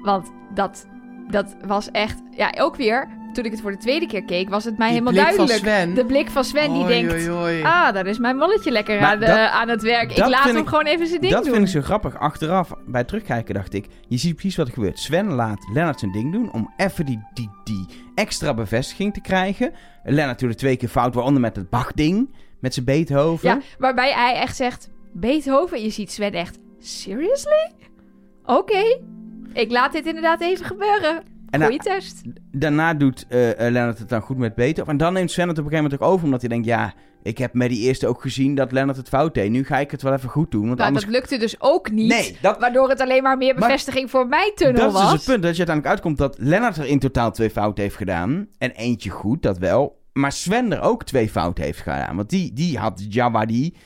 S2: Want dat, dat was echt... Ja, ook weer, toen ik het voor de tweede keer keek, was het mij
S1: Die
S2: helemaal
S1: blik van
S2: duidelijk.
S1: Sven.
S2: De blik van Sven die
S1: Oei,
S2: denkt...
S1: oei, oei.
S2: Ah, daar is mijn molletje lekker
S3: Maar
S2: aan, de-
S3: dat-
S2: aan het werk. Ik
S3: dat
S2: laat
S3: vind
S2: hem
S3: ik-
S2: gewoon even zijn ding
S3: dat
S2: doen.
S3: vind ik zo grappig. Achteraf, bij terugkijken dacht ik, je ziet precies wat er gebeurt. Sven laat Lennart zijn ding doen om even die, die, die extra bevestiging te krijgen. Lennart doet het twee keer fout, waaronder met het Bach-ding, met zijn Beethoven.
S2: Ja, waarbij hij echt zegt: Beethoven, je ziet Sven echt. Seriously? Oké. Ik laat dit inderdaad even gebeuren.
S3: en nou,
S2: Goeie
S3: hij-
S2: test.
S3: daarna doet eh eh, Lennart het dan goed met Beethoven. En dan neemt Sven het op een gegeven moment ook over, omdat hij denkt, ja, ik heb met die eerste ook gezien dat Lennart het fout deed. Nu ga ik het wel even goed doen, want
S2: Maar
S3: anders...
S2: dat lukte dus ook niet.
S3: Nee, dat-
S2: Waardoor het alleen maar meer
S3: Maar-
S2: bevestiging voor mijn tunnel
S3: dat is
S2: was.
S3: dus het punt, dat je uiteindelijk uitkomt dat Lennart er in totaal twee fouten heeft gedaan. En eentje goed, dat wel. Maar Sven er ook twee fouten heeft gedaan. Want die, die had Jawadi.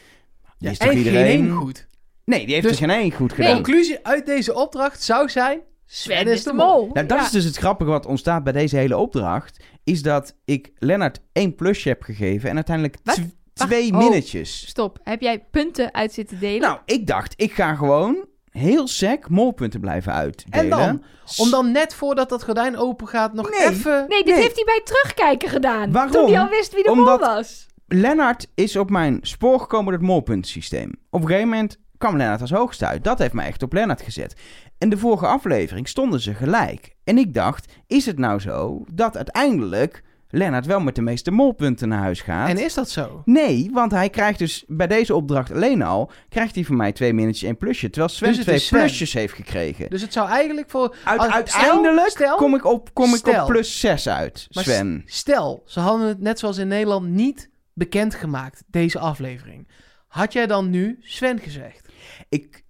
S3: Die is
S1: en
S3: toch iedereen...
S1: geen één goed.
S3: Nee, die heeft
S1: Dus-
S3: er geen één goed
S2: Nee.
S3: gedaan.
S1: Conclusie uit deze opdracht zou zijn...
S2: Sven is de mol.
S3: Nou, dat
S2: Ja.
S3: is dus het grappige wat ontstaat bij deze hele opdracht. Is dat ik Lennart één plusje heb gegeven en uiteindelijk
S2: Wat?
S3: tw-
S2: Wacht,
S3: twee
S2: oh.
S3: minnetjes.
S2: Stop. Heb jij punten uit zitten delen?
S3: Nou, ik dacht, ik ga gewoon heel sec molpunten blijven uitdelen.
S1: En dan?
S3: S-
S1: Om dan net voordat dat gordijn open gaat nog
S3: Nee.
S1: even...
S2: nee, dit
S3: nee.
S2: heeft hij bij het terugkijken gedaan.
S3: Waarom?
S2: Toen hij al wist wie de
S3: Omdat-
S2: mol was.
S3: Lennart is op mijn spoor gekomen door het molpuntensysteem. Op een gegeven moment kwam Lennart als hoogste uit. Dat heeft mij echt op Lennart gezet. En de vorige aflevering stonden ze gelijk. En ik dacht, is het nou zo dat uiteindelijk Lennart wel met de meeste molpunten naar huis gaat?
S1: En is dat zo?
S3: Nee, want hij krijgt dus bij deze opdracht alleen al... krijgt hij van mij twee minnetjes en plusje. Terwijl Sven
S1: Dus het
S3: twee
S1: is Sven.
S3: plusjes heeft gekregen.
S1: Dus het zou eigenlijk voor...
S3: Uit-
S1: als-
S3: uiteindelijk
S1: stel, stel-
S3: kom ik op, kom ik op
S1: Stel.
S3: plus 6 uit,
S1: Maar
S3: Sven.
S1: Stel, ze hadden het net zoals in Nederland niet bekendgemaakt, deze aflevering. Had jij dan nu Sven gezegd?
S3: Ik...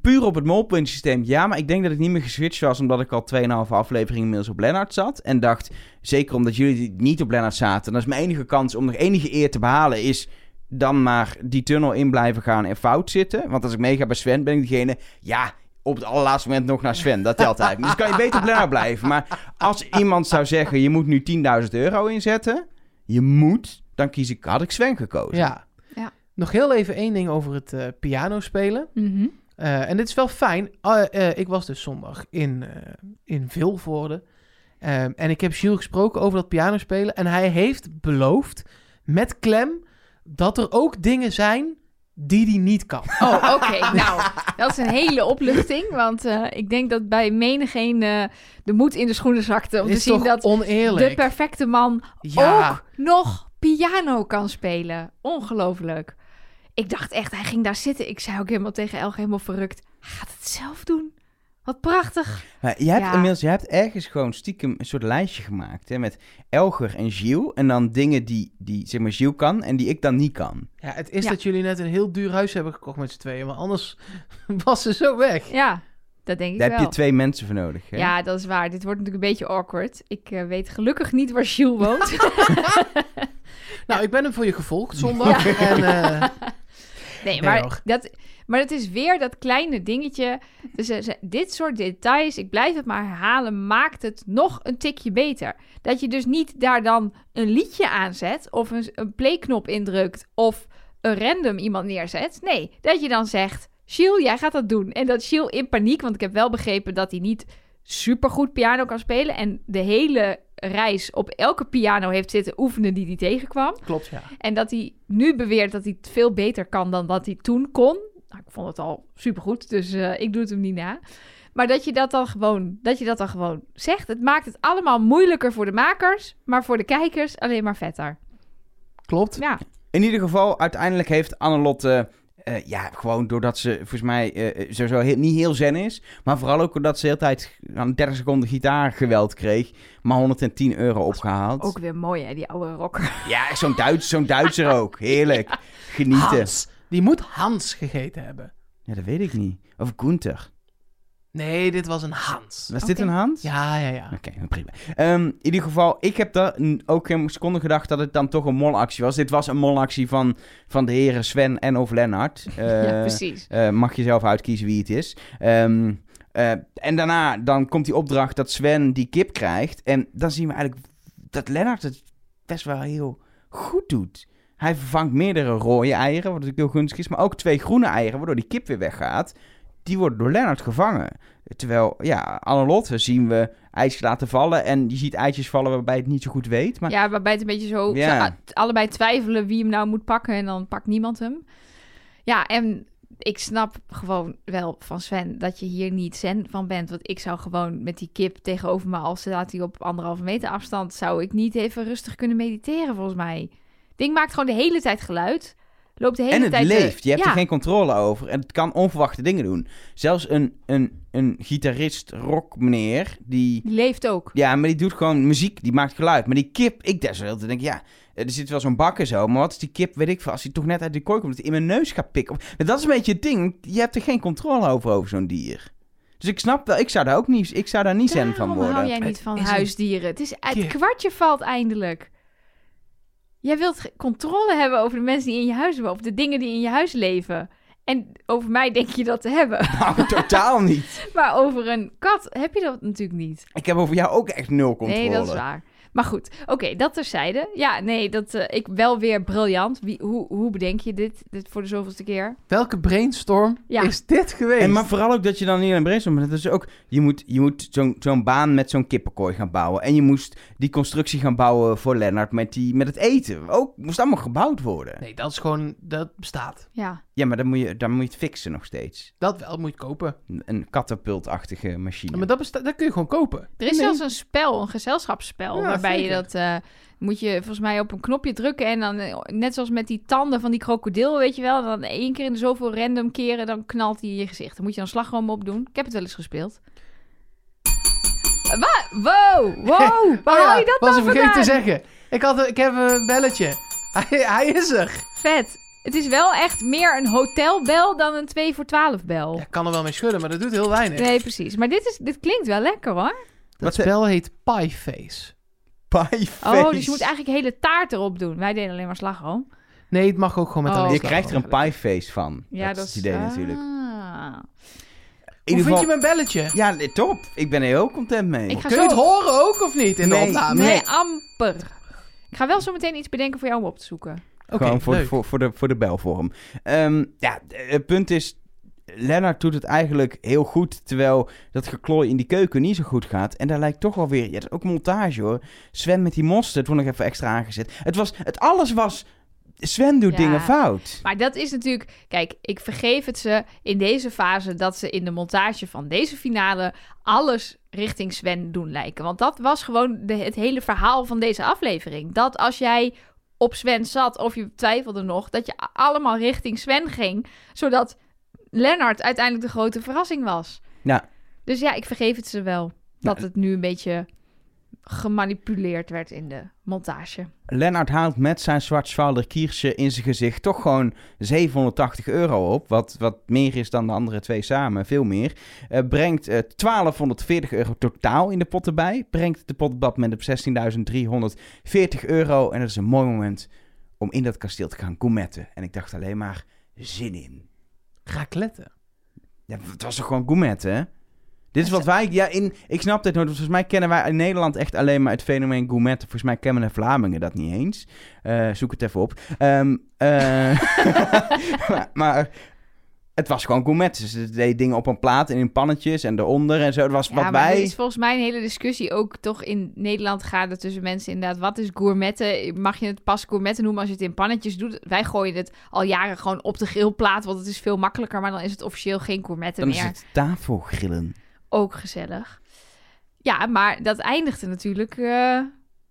S3: Puur op het molpuntsysteem, ja. Maar ik denk dat ik niet meer geswitcht was... omdat ik al 2,5 afleveringen inmiddels op Lennart zat. En dacht, zeker omdat jullie niet op Lennart zaten... dat is mijn enige kans om nog enige eer te behalen... is dan maar die tunnel in blijven gaan en fout zitten. Want als ik meega bij Sven, ben ik degene... ja, op het allerlaatste moment nog naar Sven. Dat telt eigenlijk. Dus kan je beter op Lennart blijven. Maar als iemand zou zeggen... je moet nu 10.000 euro inzetten... je moet... dan kies ik, had ik Sven gekozen.
S1: Ja.
S2: Ja.
S1: Nog heel even één ding over het eh piano spelen.
S2: Mhm.
S1: Eh, en dit is wel fijn. Ah, eh, ik was dus zondag in, eh, in Vilvoorde. Ehm, en ik heb Gilles gesproken over dat pianospelen. En hij heeft beloofd, met klem, dat er ook dingen zijn die hij niet kan.
S2: Oh, oké. Nou, dat is een hele opluchting. Want eh, ik denk dat bij menigeen eh, de moed in de schoenen zakte. Om
S1: Dit
S2: te
S1: is
S2: zien
S1: toch
S2: dat
S1: oneerlijk?
S2: de Oh! perfecte man ook nog piano kan spelen. Ongelooflijk. Ik dacht echt, hij ging daar zitten. Ik zei ook helemaal tegen Elge, helemaal verrukt. Hij gaat het zelf doen. Wat prachtig.
S3: Maar je hebt
S2: Ja.
S3: inmiddels, je hebt ergens gewoon stiekem een soort lijstje gemaakt hè, met Elger en Gilles. En dan dingen die, die zeg maar Gilles kan en die ik dan niet kan.
S1: Ja, het is
S2: Ja.
S1: dat jullie net een heel duur huis hebben gekocht met z'n tweeën, maar anders <laughs> was ze zo weg.
S2: Ja, dat denk ik
S3: Daar
S2: wel.
S3: heb je twee mensen voor nodig. Hè?
S2: Ja, dat is waar. Dit wordt natuurlijk een beetje awkward. Ik eh, weet gelukkig niet waar Jules woont.
S1: Nou, ik ben hem voor je gevolgd zondag. <laughs> En, eh,
S2: <laughs> Nee,
S1: Nee,
S2: maar
S1: hoor.
S2: dat, maar het is weer dat kleine dingetje. Dus eh, ze- dit soort details, ik blijf het maar herhalen, maakt het nog een tikje beter. Dat je dus niet daar dan een liedje aanzet of een, een playknop indrukt of een random iemand neerzet. Nee, dat je dan zegt, Shiel, jij gaat dat doen. En dat Shiel in paniek, want ik heb wel begrepen dat hij niet supergoed piano kan spelen. En de hele reis op elke piano heeft zitten oefenen die hij tegenkwam.
S1: Klopt, ja.
S2: En dat hij nu beweert dat hij het veel beter kan dan wat hij toen kon. Nou, ik vond het al supergoed, dus eh, ik doe het hem niet na. Maar dat je dat, dan gewoon, dat je dat dan gewoon zegt, het maakt het allemaal moeilijker voor de makers, maar voor de kijkers alleen maar vetter.
S1: Klopt.
S2: Ja,
S3: In ieder geval, uiteindelijk heeft Annelotte... eh, ja, gewoon doordat ze volgens mij eh, sowieso heel- niet heel zen is. Maar vooral ook doordat ze de hele tijd aan 30 seconden gitaargeweld kreeg. Maar 110 euro opgehaald.
S2: ook weer mooi hè, die oude rocker.
S3: Ja, zo'n Duits, zo'n Duitser ook. Heerlijk.
S2: <laughs>
S3: Genieten.
S1: Hans. Die moet Hans gegeten hebben.
S3: Ja, dat weet ik niet. Of Gunther.
S1: Nee, dit was een Hans.
S3: Was dit
S2: Oké.
S3: een Hans?
S1: Ja, ja, ja.
S3: Oké, nou prima. Ehm, in ieder geval, ik heb daar n- ook geen seconde gedacht dat het dan toch een molactie was. Dit was een molactie van, van de heren Sven en of Lennart.
S2: <laughs>
S3: Eh,
S2: ja, precies.
S3: eh, mag je zelf uitkiezen wie het is. Ehm, eh, en daarna dan komt die opdracht dat Sven die kip krijgt. En dan zien we eigenlijk dat Lennart het best wel heel goed doet. Hij vervangt meerdere rode eieren, wat natuurlijk heel gunstig is. Maar ook twee groene eieren, waardoor die kip weer weggaat. Die worden door Lennart gevangen. Terwijl, ja, Annelotte zien we eitjes laten vallen. En je ziet eitjes vallen waarbij het niet zo goed weet. Maar
S2: Ja, waarbij het een beetje zo...
S3: Ja.
S2: ze a- allebei twijfelen wie hem nou moet pakken en dan pakt niemand hem. Ja, en ik snap gewoon wel van Sven dat je hier niet zen van bent. Want ik zou gewoon met die kip tegenover me, al staat hij op anderhalve meter afstand... zou ik niet even rustig kunnen mediteren, volgens mij. Ding maakt gewoon de hele tijd geluid. Loopt de hele
S3: en het
S2: tijd... eh,
S3: leeft. Je hebt
S2: ja.
S3: er geen controle over. En het kan onverwachte dingen doen. Zelfs een, een, een gitarist, rockmeneer, die...
S2: Die leeft ook.
S3: Ja, maar die doet gewoon muziek, die maakt geluid. Maar die kip, ik desalniettemin denk, ja, er zit wel zo'n bak en zo. Maar wat is die kip, weet ik veel, als die toch net uit de kooi komt, dat hij in mijn neus gaat pikken. Maar Dat is een beetje het ding. Je hebt er geen controle over, over zo'n dier. Dus ik snap wel, ik zou daar ook niet, ik zou daar niet zen van
S2: Daarom
S3: worden.
S2: hou jij niet
S1: Het
S2: van
S1: is een
S2: huisdieren. Het, is, het
S1: kip.
S2: kwartje valt eindelijk. Jij wilt ge- controle hebben over de mensen die in je huis wonen. Of de dingen die in je huis leven. En over mij denk je dat te hebben.
S3: <laughs>
S2: <laughs>
S3: Nou, totaal niet.
S2: Maar over een kat heb je dat natuurlijk niet.
S3: Ik heb over jou ook echt nul controle.
S2: Nee, dat is waar. Maar goed, oké, dat terzijde. Ja, nee, dat eh, ik wel weer briljant. Wie, hoe, hoe bedenk je dit, dit voor de zoveelste keer?
S1: Welke brainstorm
S2: Ja.
S1: is dit geweest?
S3: En maar vooral ook dat je dan niet alleen brainstormt, maar dat is ook... Je moet, je moet zo'n zo'n baan met zo'n kippenkooi gaan bouwen. En je moest die constructie gaan bouwen voor Lennart met, die, met het eten. Ook moest allemaal gebouwd worden.
S1: Nee, dat is gewoon... Dat bestaat.
S2: Ja,
S3: Ja, maar dan moet je, dan moet je het fixen nog steeds.
S1: Dat wel, moet je kopen.
S3: Een- Een katapultachtige machine.
S1: Maar dat, besta- dat kun je gewoon kopen.
S2: er is zelfs een spel, een gezelschapsspel.
S1: Ja,
S2: waarbij je
S1: zeker.
S2: dat eh, moet je volgens mij op een knopje drukken. En dan, eh, net zoals met die tanden van die krokodil, weet je wel. Dan één keer in de zoveel random keren, dan knalt hij in je gezicht. Dan moet je dan slagroom op doen. Ik heb het wel eens gespeeld. Wat? Wow, wow. Waar
S1: <laughs> Oh ja,
S2: haal je dat
S1: was
S2: nou
S1: ik vergeten
S2: vandaan?
S1: te zeggen. Ik, had, ik heb een belletje. <laughs> Hij, hij is er.
S2: Vet. Het is wel echt meer een hotelbel dan een 2 voor 12 bel.
S1: Ja, ik kan er wel mee schudden, maar dat doet heel weinig.
S2: Nee, precies. Maar dit, is, dit klinkt wel lekker hoor.
S1: Dat
S3: Wat-
S1: spel heet Pieface.
S3: Pieface.
S2: Oh, dus je moet eigenlijk hele taart erop doen. Wij deden alleen maar slagroom.
S1: Nee, het mag ook gewoon met
S2: Oh.
S1: alleen
S3: Je
S2: slagroom.
S3: krijgt er een pieface van.
S2: Ja, dat,
S3: is het idee
S2: ah.
S3: natuurlijk. In
S1: Hoe
S3: ieder
S1: vind je
S3: geval-
S1: mijn belletje?
S3: Ja, nee, top. Ik ben er heel content mee.
S2: Ik ga
S1: Kun
S2: zo...
S1: je het horen ook of niet in
S3: Nee,
S1: de opname?
S2: Nee,
S3: Nee.
S2: amper. Ik ga wel zo meteen iets bedenken voor jou om op te zoeken.
S1: Oké,
S3: Gewoon voor,
S1: leuk.
S3: voor, voor, de, voor de belvorm. Ehm, ja, eh, het punt is... Lennart doet het eigenlijk heel goed, terwijl dat geklooi in die keuken niet zo goed gaat. En daar lijkt toch wel weer... Ja, dat is ook montage hoor. Sven met die mosterd wordt nog even extra aangezet. Het was... Het alles was... Sven doet
S2: Ja.
S3: dingen fout.
S2: Maar dat is natuurlijk... Kijk, ik vergeef het ze in deze fase... dat ze in de montage van deze finale... alles richting Sven doen lijken. Want dat was gewoon de, het hele verhaal van deze aflevering. Dat als jij op Sven zat of je twijfelde nog... dat je a- allemaal richting Sven ging... zodat Lennart uiteindelijk de grote verrassing was.
S3: Ja.
S2: Dus ja, ik vergeef het ze wel. Dat het nu een beetje gemanipuleerd werd in de montage.
S3: Lennart haalt met zijn Schwarzwalder kiersje in zijn gezicht toch gewoon 780 euro op. Wat, wat meer is dan de andere twee samen, veel meer. Eh, brengt eh, 1240 euro totaal in de pot erbij. Brengt de pot op dat moment op 16.340 euro. En dat is een mooi moment om in dat kasteel te gaan gourmetten. En ik dacht alleen maar, zin in.
S1: Raclette.
S3: Ja, het was toch gewoon gourmetten, hè? Dit is wat wij... Ja, in, ik snap dit nooit. want Volgens mij kennen wij in Nederland echt alleen maar het fenomeen gourmet. Volgens mij kennen de Vlamingen dat niet eens. Eh, zoek het even op. Ehm, eh, <laughs> maar... maar Het was gewoon gourmet. Dus Ze deed dingen op een plaat en in pannetjes en eronder en zo. Het was
S2: Ja,
S3: wat
S2: maar
S3: wij...
S2: dat is volgens mij een hele discussie ook toch in Nederland gaande tussen mensen inderdaad. Wat is gourmetten? Mag je het pas gourmetten noemen als je het in pannetjes doet? Wij gooien het al jaren gewoon op de grillplaat, want het is veel makkelijker. Maar dan is het officieel geen gourmetten
S3: Dan
S2: meer.
S3: is het tafelgrillen.
S2: Ook gezellig. Ja, maar dat eindigde natuurlijk eh,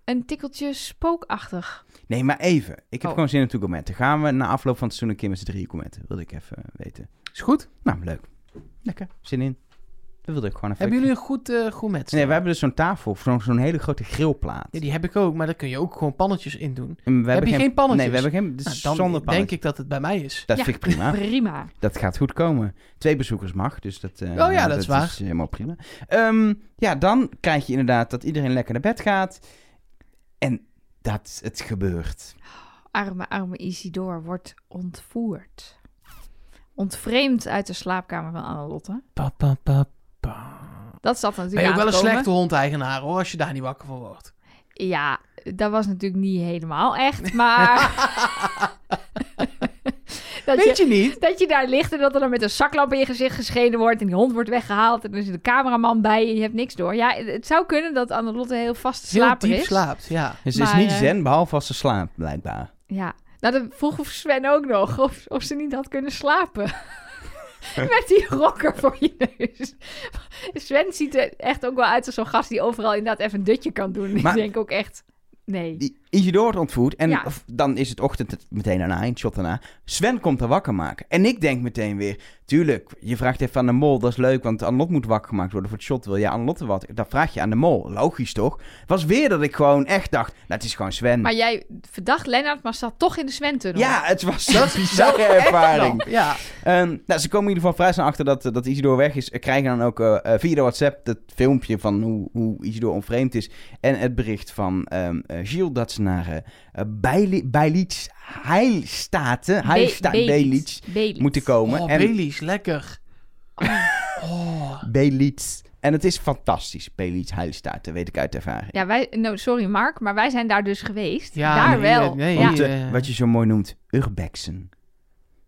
S2: een tikkeltje spookachtig.
S3: Nee, maar even. Ik heb
S2: Oh.
S3: gewoon zin in gourmetten. Gaan we na afloop van het seizoen een keer met z'n drieën gourmetten? Wilde ik even weten.
S1: Is goed.
S3: Nou, leuk. Lekker. Zin in. Dat wilde ik gewoon even
S1: Hebben jullie een goed eh gourmet?
S3: Nee, we hebben dus zo'n tafel, zo'n zo'n hele grote grillplaat.
S1: Ja, die heb ik ook, maar daar kun je ook gewoon pannetjes in doen.
S3: En we
S1: Heb je geen pannetjes?
S3: Nee, we hebben geen... Dit
S1: Nou,
S3: is
S1: dan
S3: zonder
S1: denk
S3: pannetjes.
S1: ik dat het bij mij is.
S3: Dat
S2: Ja,
S3: vind ik
S1: <laughs>
S3: prima.
S2: Prima.
S3: Dat gaat goed komen. Twee bezoekers mag, dus dat, eh,
S1: Oh ja, dat is waar.
S3: helemaal prima. Ehm, ja, dan krijg je inderdaad dat iedereen lekker naar bed gaat. En dat het gebeurt.
S2: Arme, arme Isidore wordt ontvoerd. Ontvreemd uit de slaapkamer van Annelotte.
S1: Pa, pa, pa, pa.
S2: Dat zat natuurlijk
S1: Ben je ook wel een
S2: aan te komen.
S1: slechte hond-eigenaar hoor, als je daar niet wakker van wordt.
S2: Ja, dat was natuurlijk niet helemaal echt,
S1: <laughs>
S2: maar... dat,
S1: Weet
S2: je,
S1: je niet?
S2: dat je daar ligt en dat er dan met een zaklamp in je gezicht geschenen wordt... en die hond wordt weggehaald en er zit een cameraman bij en je hebt niks door. Ja, het zou kunnen dat Annelotte heel vast
S1: Heel
S2: slaper
S1: diep
S2: is.
S1: slaapt, ja.
S3: Dus het
S2: Maar,
S3: is niet
S2: eh,
S3: zen, behalve als ze slaapt, blijkbaar.
S2: Ja, nou dat vroeg Sven ook nog of, of ze niet had kunnen
S1: <laughs>
S2: slapen. Met die rokker voor je neus. Sven ziet er echt ook wel uit als zo'n gast die overal inderdaad even een dutje kan doen.
S3: Maar-
S2: Ik denk ook echt, nee.
S3: Die Isidore wordt ontvoerd en
S2: Ja.
S3: of- dan is het ochtend het- meteen daarna, een shot daarna. Sven komt er wakker maken. En ik denk meteen weer, tuurlijk, je vraagt even aan de mol, dat is leuk, want Anlot moet wakker gemaakt worden voor het shot. Wil je Anlotte wat? Dat vraag je aan de mol, logisch toch? Was weer dat ik gewoon echt dacht, nou, het is gewoon Sven.
S2: Maar jij verdacht Lennart, maar zat toch in de Sven-tunnel.
S3: Ja, het
S2: <laughs>
S3: was zo'n bizarre ervaring.
S1: Ja.
S3: Ehm, nou, ze komen in ieder geval vrij snel achter dat, eh, dat Isidore weg is. Eh, Krijgen dan ook eh, eh, via de WhatsApp het filmpje van hoe, hoe Isidore onvreemd is. En het bericht van ehm eh, Gilles dat ze naar eh, eh Beili- Beilits Heilstaten, Heilsta- Beilits, moeten komen.
S1: Oh,
S3: en
S1: Bailey is lekker. Oh.
S3: Beilits. En het is fantastisch, Beilits Heilstaten, weet ik uit ervaring.
S2: Ja, wij, nou, sorry Mark, maar wij zijn daar dus geweest.
S1: Ja, nee,
S2: daar wel.
S1: nee,
S2: ja.
S3: Want, eh,
S1: eh,
S3: wat je zo mooi noemt, urbexen.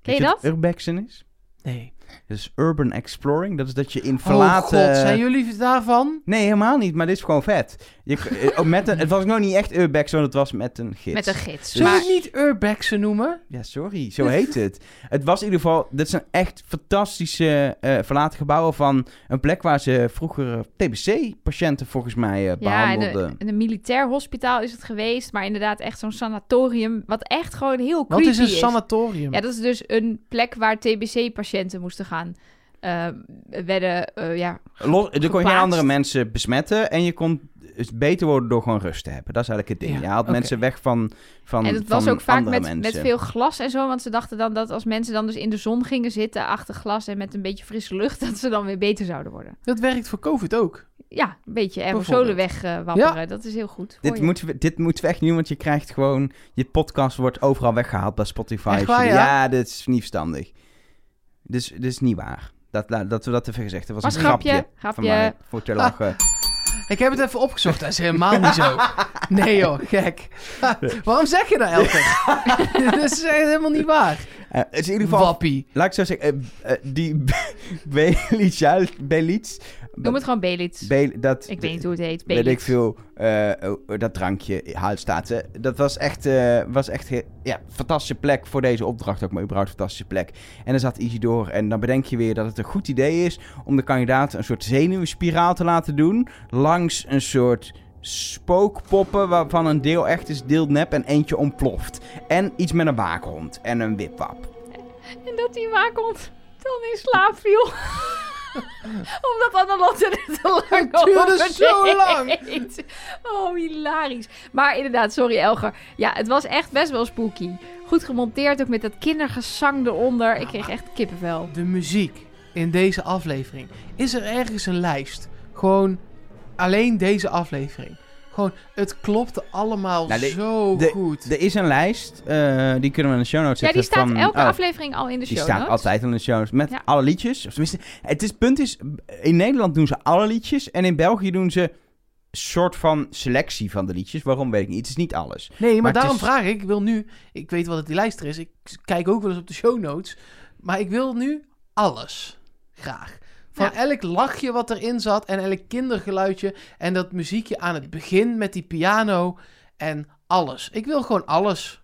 S2: Ken je
S3: Weet
S2: dat?
S3: wat urbexen is?
S1: Nee.
S3: Dus urban exploring. Dat is dat je in
S1: Verlaten.
S3: verlaten...
S1: Oh, god, zijn jullie daarvan?
S3: Nee, helemaal niet, maar dit is gewoon vet. Je, eh, ook met een, het was nog niet echt urbex, want het was met een gids.
S2: Met een gids.
S1: Zullen
S2: Maar
S1: we het niet urbexen noemen?
S3: Ja, sorry, zo heet het. Het was in ieder geval, dit zijn echt fantastische eh, verlaten gebouwen van een plek waar ze vroeger eh, TBC-patiënten volgens mij eh
S2: ja, in
S3: behandelden.
S2: een, in een militair hospitaal is het geweest. Maar inderdaad echt zo'n sanatorium, wat echt gewoon heel
S1: Wat
S2: creepy
S1: is een sanatorium?
S2: Ja, dat is dus een plek waar TBC-patiënten moesten gaan. eh, werden, eh, ja,
S3: Los, er kon je geen
S2: geplaatst.
S3: andere mensen besmetten en je kon dus beter worden door gewoon rust te hebben. Dat is eigenlijk het ding.
S1: Ja,
S3: je haalt
S1: oké.
S3: mensen weg van, van
S2: en het
S3: van
S2: was ook vaak
S3: andere
S2: met, met
S3: mensen.
S2: veel glas en zo. Want ze dachten dan dat als mensen dan dus in de zon gingen zitten achter glas en met een beetje frisse lucht, <laughs> dat ze dan weer beter zouden worden.
S1: Dat werkt voor COVID ook.
S2: Ja, een beetje aerosolen wegwapperen. dat is heel goed. voor
S3: Dit
S2: je.
S3: moeten, we, dit moeten we echt niet doen, want je krijgt gewoon... Je podcast wordt overal weggehaald bij Spotify.
S1: Echt waar,
S3: ja?
S1: ja?
S3: dit is niet verstandig. Dus dit is niet waar. Dat, la- dat we dat even gezegd hebben. was,
S2: Was
S3: een grapje,
S2: grapje,
S3: van
S2: grapje.
S3: mij. Voor te lachen.
S1: Ik heb het even opgezocht, dat is helemaal niet <laughs> zo. Nee joh, gek. Waarom zeg je dat, Elke? <laughs> dat is echt helemaal niet waar.
S2: Ah.
S3: Eh, het is in ieder geval...
S1: Wappie.
S3: Laat ik zo zeggen, eh, eh, die <laughs> Belits, Belits,
S2: Noem het gewoon Belitz.
S3: Bel- dat
S2: ik weet niet hoe het heet.
S3: weet ik
S2: Belitz.
S3: veel, eh, oh, dat drankje, Huilstaten. Dat was echt, eh, was echt eh, ja, fantastische plek voor deze opdracht ook, maar überhaupt een fantastische plek. En dan zat Isidore en dan bedenk je weer dat het een goed idee is om de kandidaten een soort zenuwspiraal te laten doen. Langs een soort spookpoppen waarvan een deel echt is, deel nep en eentje ontploft. En iets met een waakhond en een wipwap.
S2: En dat die waakhond dan in slaap
S3: <laughs>
S2: viel. Omdat Annelotte er te lang
S1: Het duurde
S2: over
S1: zo
S2: deed.
S1: lang.
S2: Oh, hilarisch. Maar inderdaad, sorry Elger. Ja, het was echt best wel spooky. Goed gemonteerd, ook met dat kindergezang eronder. Ik kreeg echt kippenvel.
S1: De muziek in deze aflevering. Is er ergens een lijst? Gewoon alleen deze aflevering. Gewoon, het klopte allemaal
S3: Nou, de-
S1: zo goed.
S3: Er is een lijst, eh, die kunnen we in de show notes
S2: Ja,
S3: zetten.
S2: die staat
S3: van,
S2: elke
S3: oh.
S2: aflevering al in de
S3: Die
S2: show
S3: staat
S2: notes.
S3: altijd in de show notes met
S2: Ja.
S3: alle liedjes. Of tenminste, het is, punt is, in Nederland doen ze alle liedjes en in België doen ze soort van selectie van de liedjes. Waarom weet ik niet. Het is niet alles.
S1: Nee, maar,
S3: Maar het
S1: daarom
S3: is-
S1: vraag ik. Ik wil nu. Ik weet wel dat die lijst er is. Ik kijk ook wel eens op de show notes. Maar ik wil nu alles graag. Van
S2: Ja.
S1: elk lachje wat erin zat en elk kindergeluidje en dat muziekje aan het begin met die piano en alles. Ik wil gewoon alles.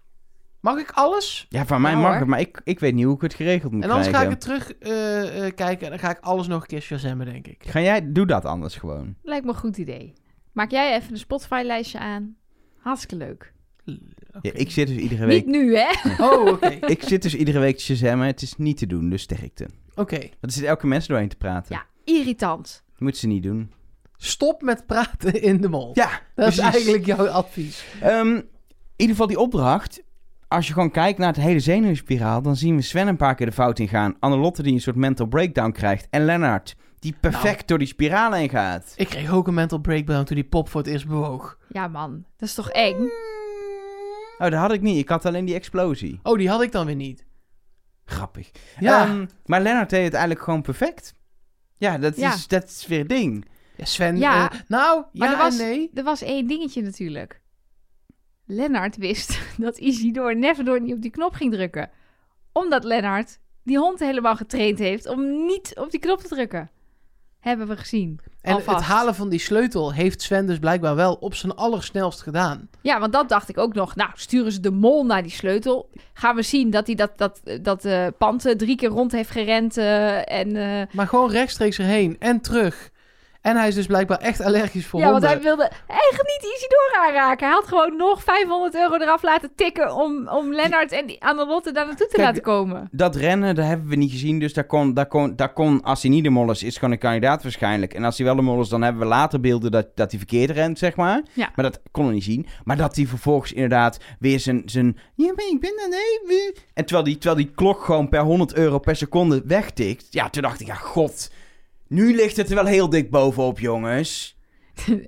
S1: Mag ik alles?
S3: Ja, van mij
S2: Ja,
S3: mag
S2: Nou, hoor.
S3: het, maar ik, ik weet niet hoe ik het geregeld moet
S1: En anders ga ik
S3: krijgen.
S1: het terug eh, eh, kijken en dan ga ik alles nog een keer shazammen, denk ik.
S3: Ga jij, doe dat anders gewoon.
S2: Lijkt me een goed idee. Maak jij even een Spotify-lijstje aan. Hartstikke leuk.
S3: Ja, ik zit dus iedere
S2: Niet
S3: week...
S2: nu, hè?
S1: Oh, oké. Oké.
S3: Ik zit dus iedere week te shazammen. Het is niet te doen, dus sterkte. Want er zit elke mens doorheen te praten.
S2: Ja, irritant.
S3: Dat moeten ze niet doen.
S1: Stop met praten in de mol.
S3: Ja,
S1: dat is
S3: precies.
S1: eigenlijk jouw advies.
S3: Ehm, in ieder geval die opdracht. Als je gewoon kijkt naar het hele zenuwspiraal, dan zien we Sven een paar keer de fout in gaan. Annelotte die een soort mental breakdown krijgt. En Lennart die perfect
S1: Nou.
S3: door die spiraal heen gaat.
S1: Ik kreeg ook een mental breakdown toen die pop voor het eerst bewoog.
S2: Ja, man. Dat is toch eng?
S3: Oh, dat had ik niet. Ik had alleen die explosie.
S1: Oh, die had ik dan weer niet.
S3: Grappig.
S1: Ja,
S3: Ehm, maar Lennart deed het eigenlijk gewoon perfect. Ja, dat,
S2: Ja.
S3: Is, dat is weer het ding.
S1: Ja, Sven.
S2: ja.
S1: eh, nou,
S2: Maar
S1: ja
S2: er was-
S1: en nee.
S2: Er was één dingetje natuurlijk. Lennart wist <laughs> dat Isidore Neverdoor niet op die knop ging drukken. Omdat Lennart die hond helemaal getraind heeft om niet op die knop te drukken. Hebben we gezien.
S1: En
S2: alvast.
S1: het halen van die sleutel heeft Sven dus blijkbaar wel op zijn allersnelst gedaan.
S2: Ja, want dat dacht ik ook nog. Nou, sturen ze de mol naar die sleutel. Gaan we zien dat hij dat, dat, dat eh, pand eh, drie keer rond heeft gerend. eh, en, eh,
S1: Maar gewoon rechtstreeks erheen en terug. En hij is dus blijkbaar echt allergisch voor
S2: ja, want
S1: honden.
S2: hij wilde echt niet Isidore aanraken. Hij had gewoon nog 500 euro eraf laten tikken om, om Lennart en die Annelotte daar naartoe te
S3: Kijk,
S2: laten komen.
S3: Dat rennen, dat hebben we niet gezien. Dus daar kon, daar kon, daar kon als hij niet de mol is, is gewoon een kandidaat waarschijnlijk. En als hij wel de mol is, dan hebben we later beelden dat, dat hij verkeerd rent, zeg maar.
S2: Ja.
S3: Maar dat kon hij niet zien. Maar dat hij vervolgens inderdaad weer zijn... zijn ja, maar ik ben er, nee. we-" En terwijl die, terwijl die klok gewoon per 100 euro per seconde wegtikt. Ja, toen dacht ik, ja, god. Nu ligt het er wel heel dik bovenop, jongens.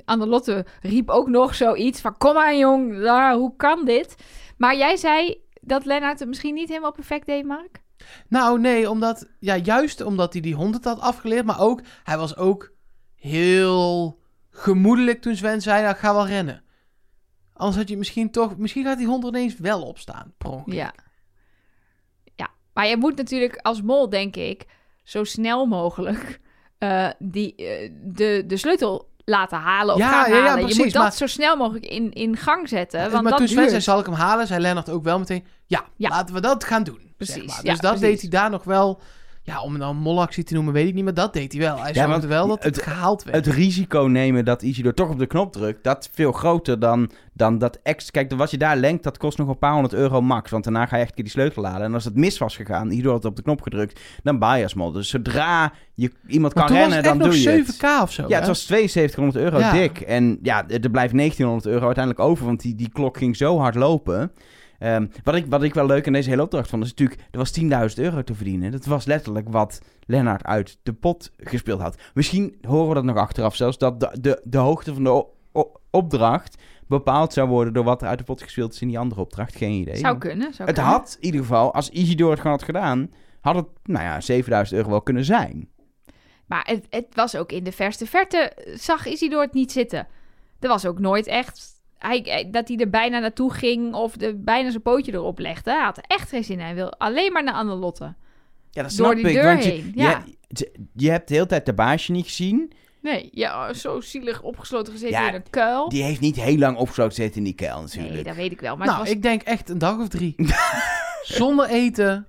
S2: Annelotte riep ook nog zoiets van... Kom aan jong, daar, hoe kan dit? Maar jij zei dat Lennart het misschien niet helemaal perfect deed, Mark?
S1: Nou, nee, omdat... Ja, juist omdat hij die hond het had afgeleerd. Maar ook, hij was ook heel gemoedelijk toen Sven zei, nou, ga wel rennen. Anders had je misschien toch... Misschien gaat die hond er ineens wel opstaan, per ongeluk.
S2: Ja. Ja, maar je moet natuurlijk als mol, denk ik... zo snel mogelijk eh, die, eh, de, de sleutel laten halen of
S1: Ja,
S2: gaan
S1: ja, ja,
S2: halen. je
S1: precies,
S2: moet dat
S1: maar-
S2: zo snel mogelijk in, in gang zetten, want
S1: Eh, maar
S2: dat
S1: toen Sven
S2: duurt.
S1: zei, zal ik hem halen, zei Lennart ook wel meteen... Ja,
S2: Ja.
S1: laten we dat gaan doen. zeg
S2: Precies,
S1: maar.
S2: ja,
S1: Dus dat deed
S2: precies.
S1: hij daar nog wel... Ja, om het dan een molactie te noemen, weet ik niet, maar dat deed hij wel. Hij
S3: Ja,
S1: zorgde
S3: want
S1: wel dat het,
S3: het-
S1: gehaald werd.
S3: Het risico nemen dat Isidor toch op de knop drukt, dat is veel groter dan, dan dat extra. Kijk, dan wat je daar lenkt, dat kost nog een paar honderd euro max. Want daarna ga je echt een keer die sleutel halen. En als het mis was gegaan, Isidor had op de knop gedrukt, dan baai je als mol. Dus zodra je iemand
S1: maar
S3: kan
S1: toen was
S3: rennen,
S1: het echt
S3: dan doe je
S1: nog
S3: het.
S1: 7k of zo.
S3: Ja,
S1: hè?
S3: het was 7200 euro
S1: Ja.
S3: dik. En ja, er blijft 1900 euro uiteindelijk over, want die, die klok ging zo hard lopen. Ehm, wat, ik, wat ik wel leuk aan deze hele opdracht vond, is natuurlijk, er was 10.000 euro te verdienen. Dat was letterlijk wat Lennart uit de pot gespeeld had. Misschien horen we dat nog achteraf zelfs, dat de, de, de hoogte van de o- o- opdracht bepaald zou worden door wat er uit de pot gespeeld is in die andere opdracht. Geen idee.
S2: Zou kunnen, zou
S3: het
S2: kunnen.
S3: had in ieder geval, als Isidor het gewoon had gedaan, had het, nou ja, 7000 euro wel kunnen zijn.
S2: Maar het, het was ook in de verste verte, eh, zag Isidor het niet zitten. Er was ook nooit echt hij, hij- dat hij er bijna naartoe ging of de, bijna zijn pootje erop legde. Hij had er echt geen zin in. Hij wil alleen maar naar Annelotte.
S3: Ja, dat
S2: Door die deur
S3: want je-
S2: heen,
S3: Je,
S2: ja.
S3: je, hebt de hele tijd de baasje niet gezien.
S2: Nee, ja, zo zielig opgesloten gezeten
S3: Ja,
S2: in een kuil.
S3: Die heeft niet heel lang opgesloten zitten in die kuil natuurlijk.
S2: Nee, dat weet ik wel. Maar
S1: nou,
S2: het was...
S1: ik denk echt een dag of drie. Zonder eten.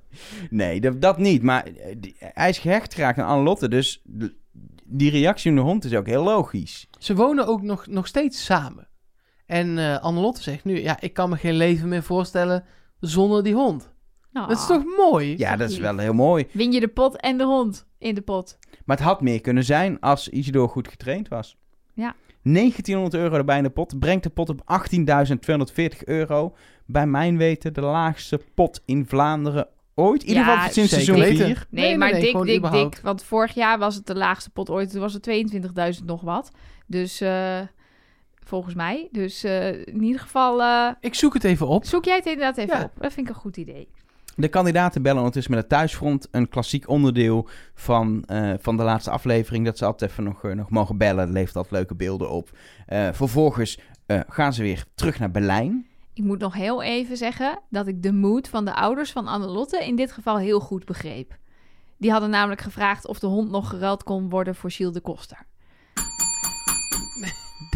S3: Nee, dat, dat niet. Maar eh, die- hij is gehecht geraakt aan Annelotte. Dus d- die reactie van de hond is ook heel logisch.
S1: Ze wonen ook nog, nog steeds samen. En eh Annelotte zegt nu, ja, ik kan me geen leven meer voorstellen zonder die hond.
S2: Nou,
S1: Dat is toch mooi?
S3: Ja, dat is
S2: lief.
S3: wel heel mooi.
S2: Win je de pot en de hond in de pot.
S3: Maar het had meer kunnen zijn als Isidor goed getraind was.
S2: Ja.
S3: 1900 euro erbij in de pot. Brengt de pot op 18.240 euro. Bij mijn weten de laagste pot in Vlaanderen ooit. In ieder
S2: Ja,
S3: geval sinds
S1: zeker
S3: seizoen
S1: weten.
S3: 4.
S2: Nee,
S1: Nee, nee,
S2: maar
S1: nee,
S2: dik,
S1: gewoon
S2: dik,
S1: überhaupt.
S2: dik. Want vorig jaar was het de laagste pot ooit. Toen was het 22.000 nog wat. Dus eh, volgens mij. Dus eh, in ieder geval... eh,
S1: Ik zoek het even op.
S2: Zoek jij het inderdaad even
S1: Ja.
S2: op. Dat vind ik een goed idee.
S3: De kandidaten bellen ondertussen met het thuisfront. Een klassiek onderdeel van, eh, van de laatste aflevering. Dat ze altijd even nog, eh, nog mogen bellen. Dat levert altijd leuke beelden op. Eh, vervolgens eh, gaan ze weer terug naar Berlijn.
S2: Ik moet nog heel even zeggen dat ik de moed van de ouders van Annelotte in dit geval heel goed begreep. Die hadden namelijk gevraagd of de hond nog geruild kon worden voor Gilles de Koster.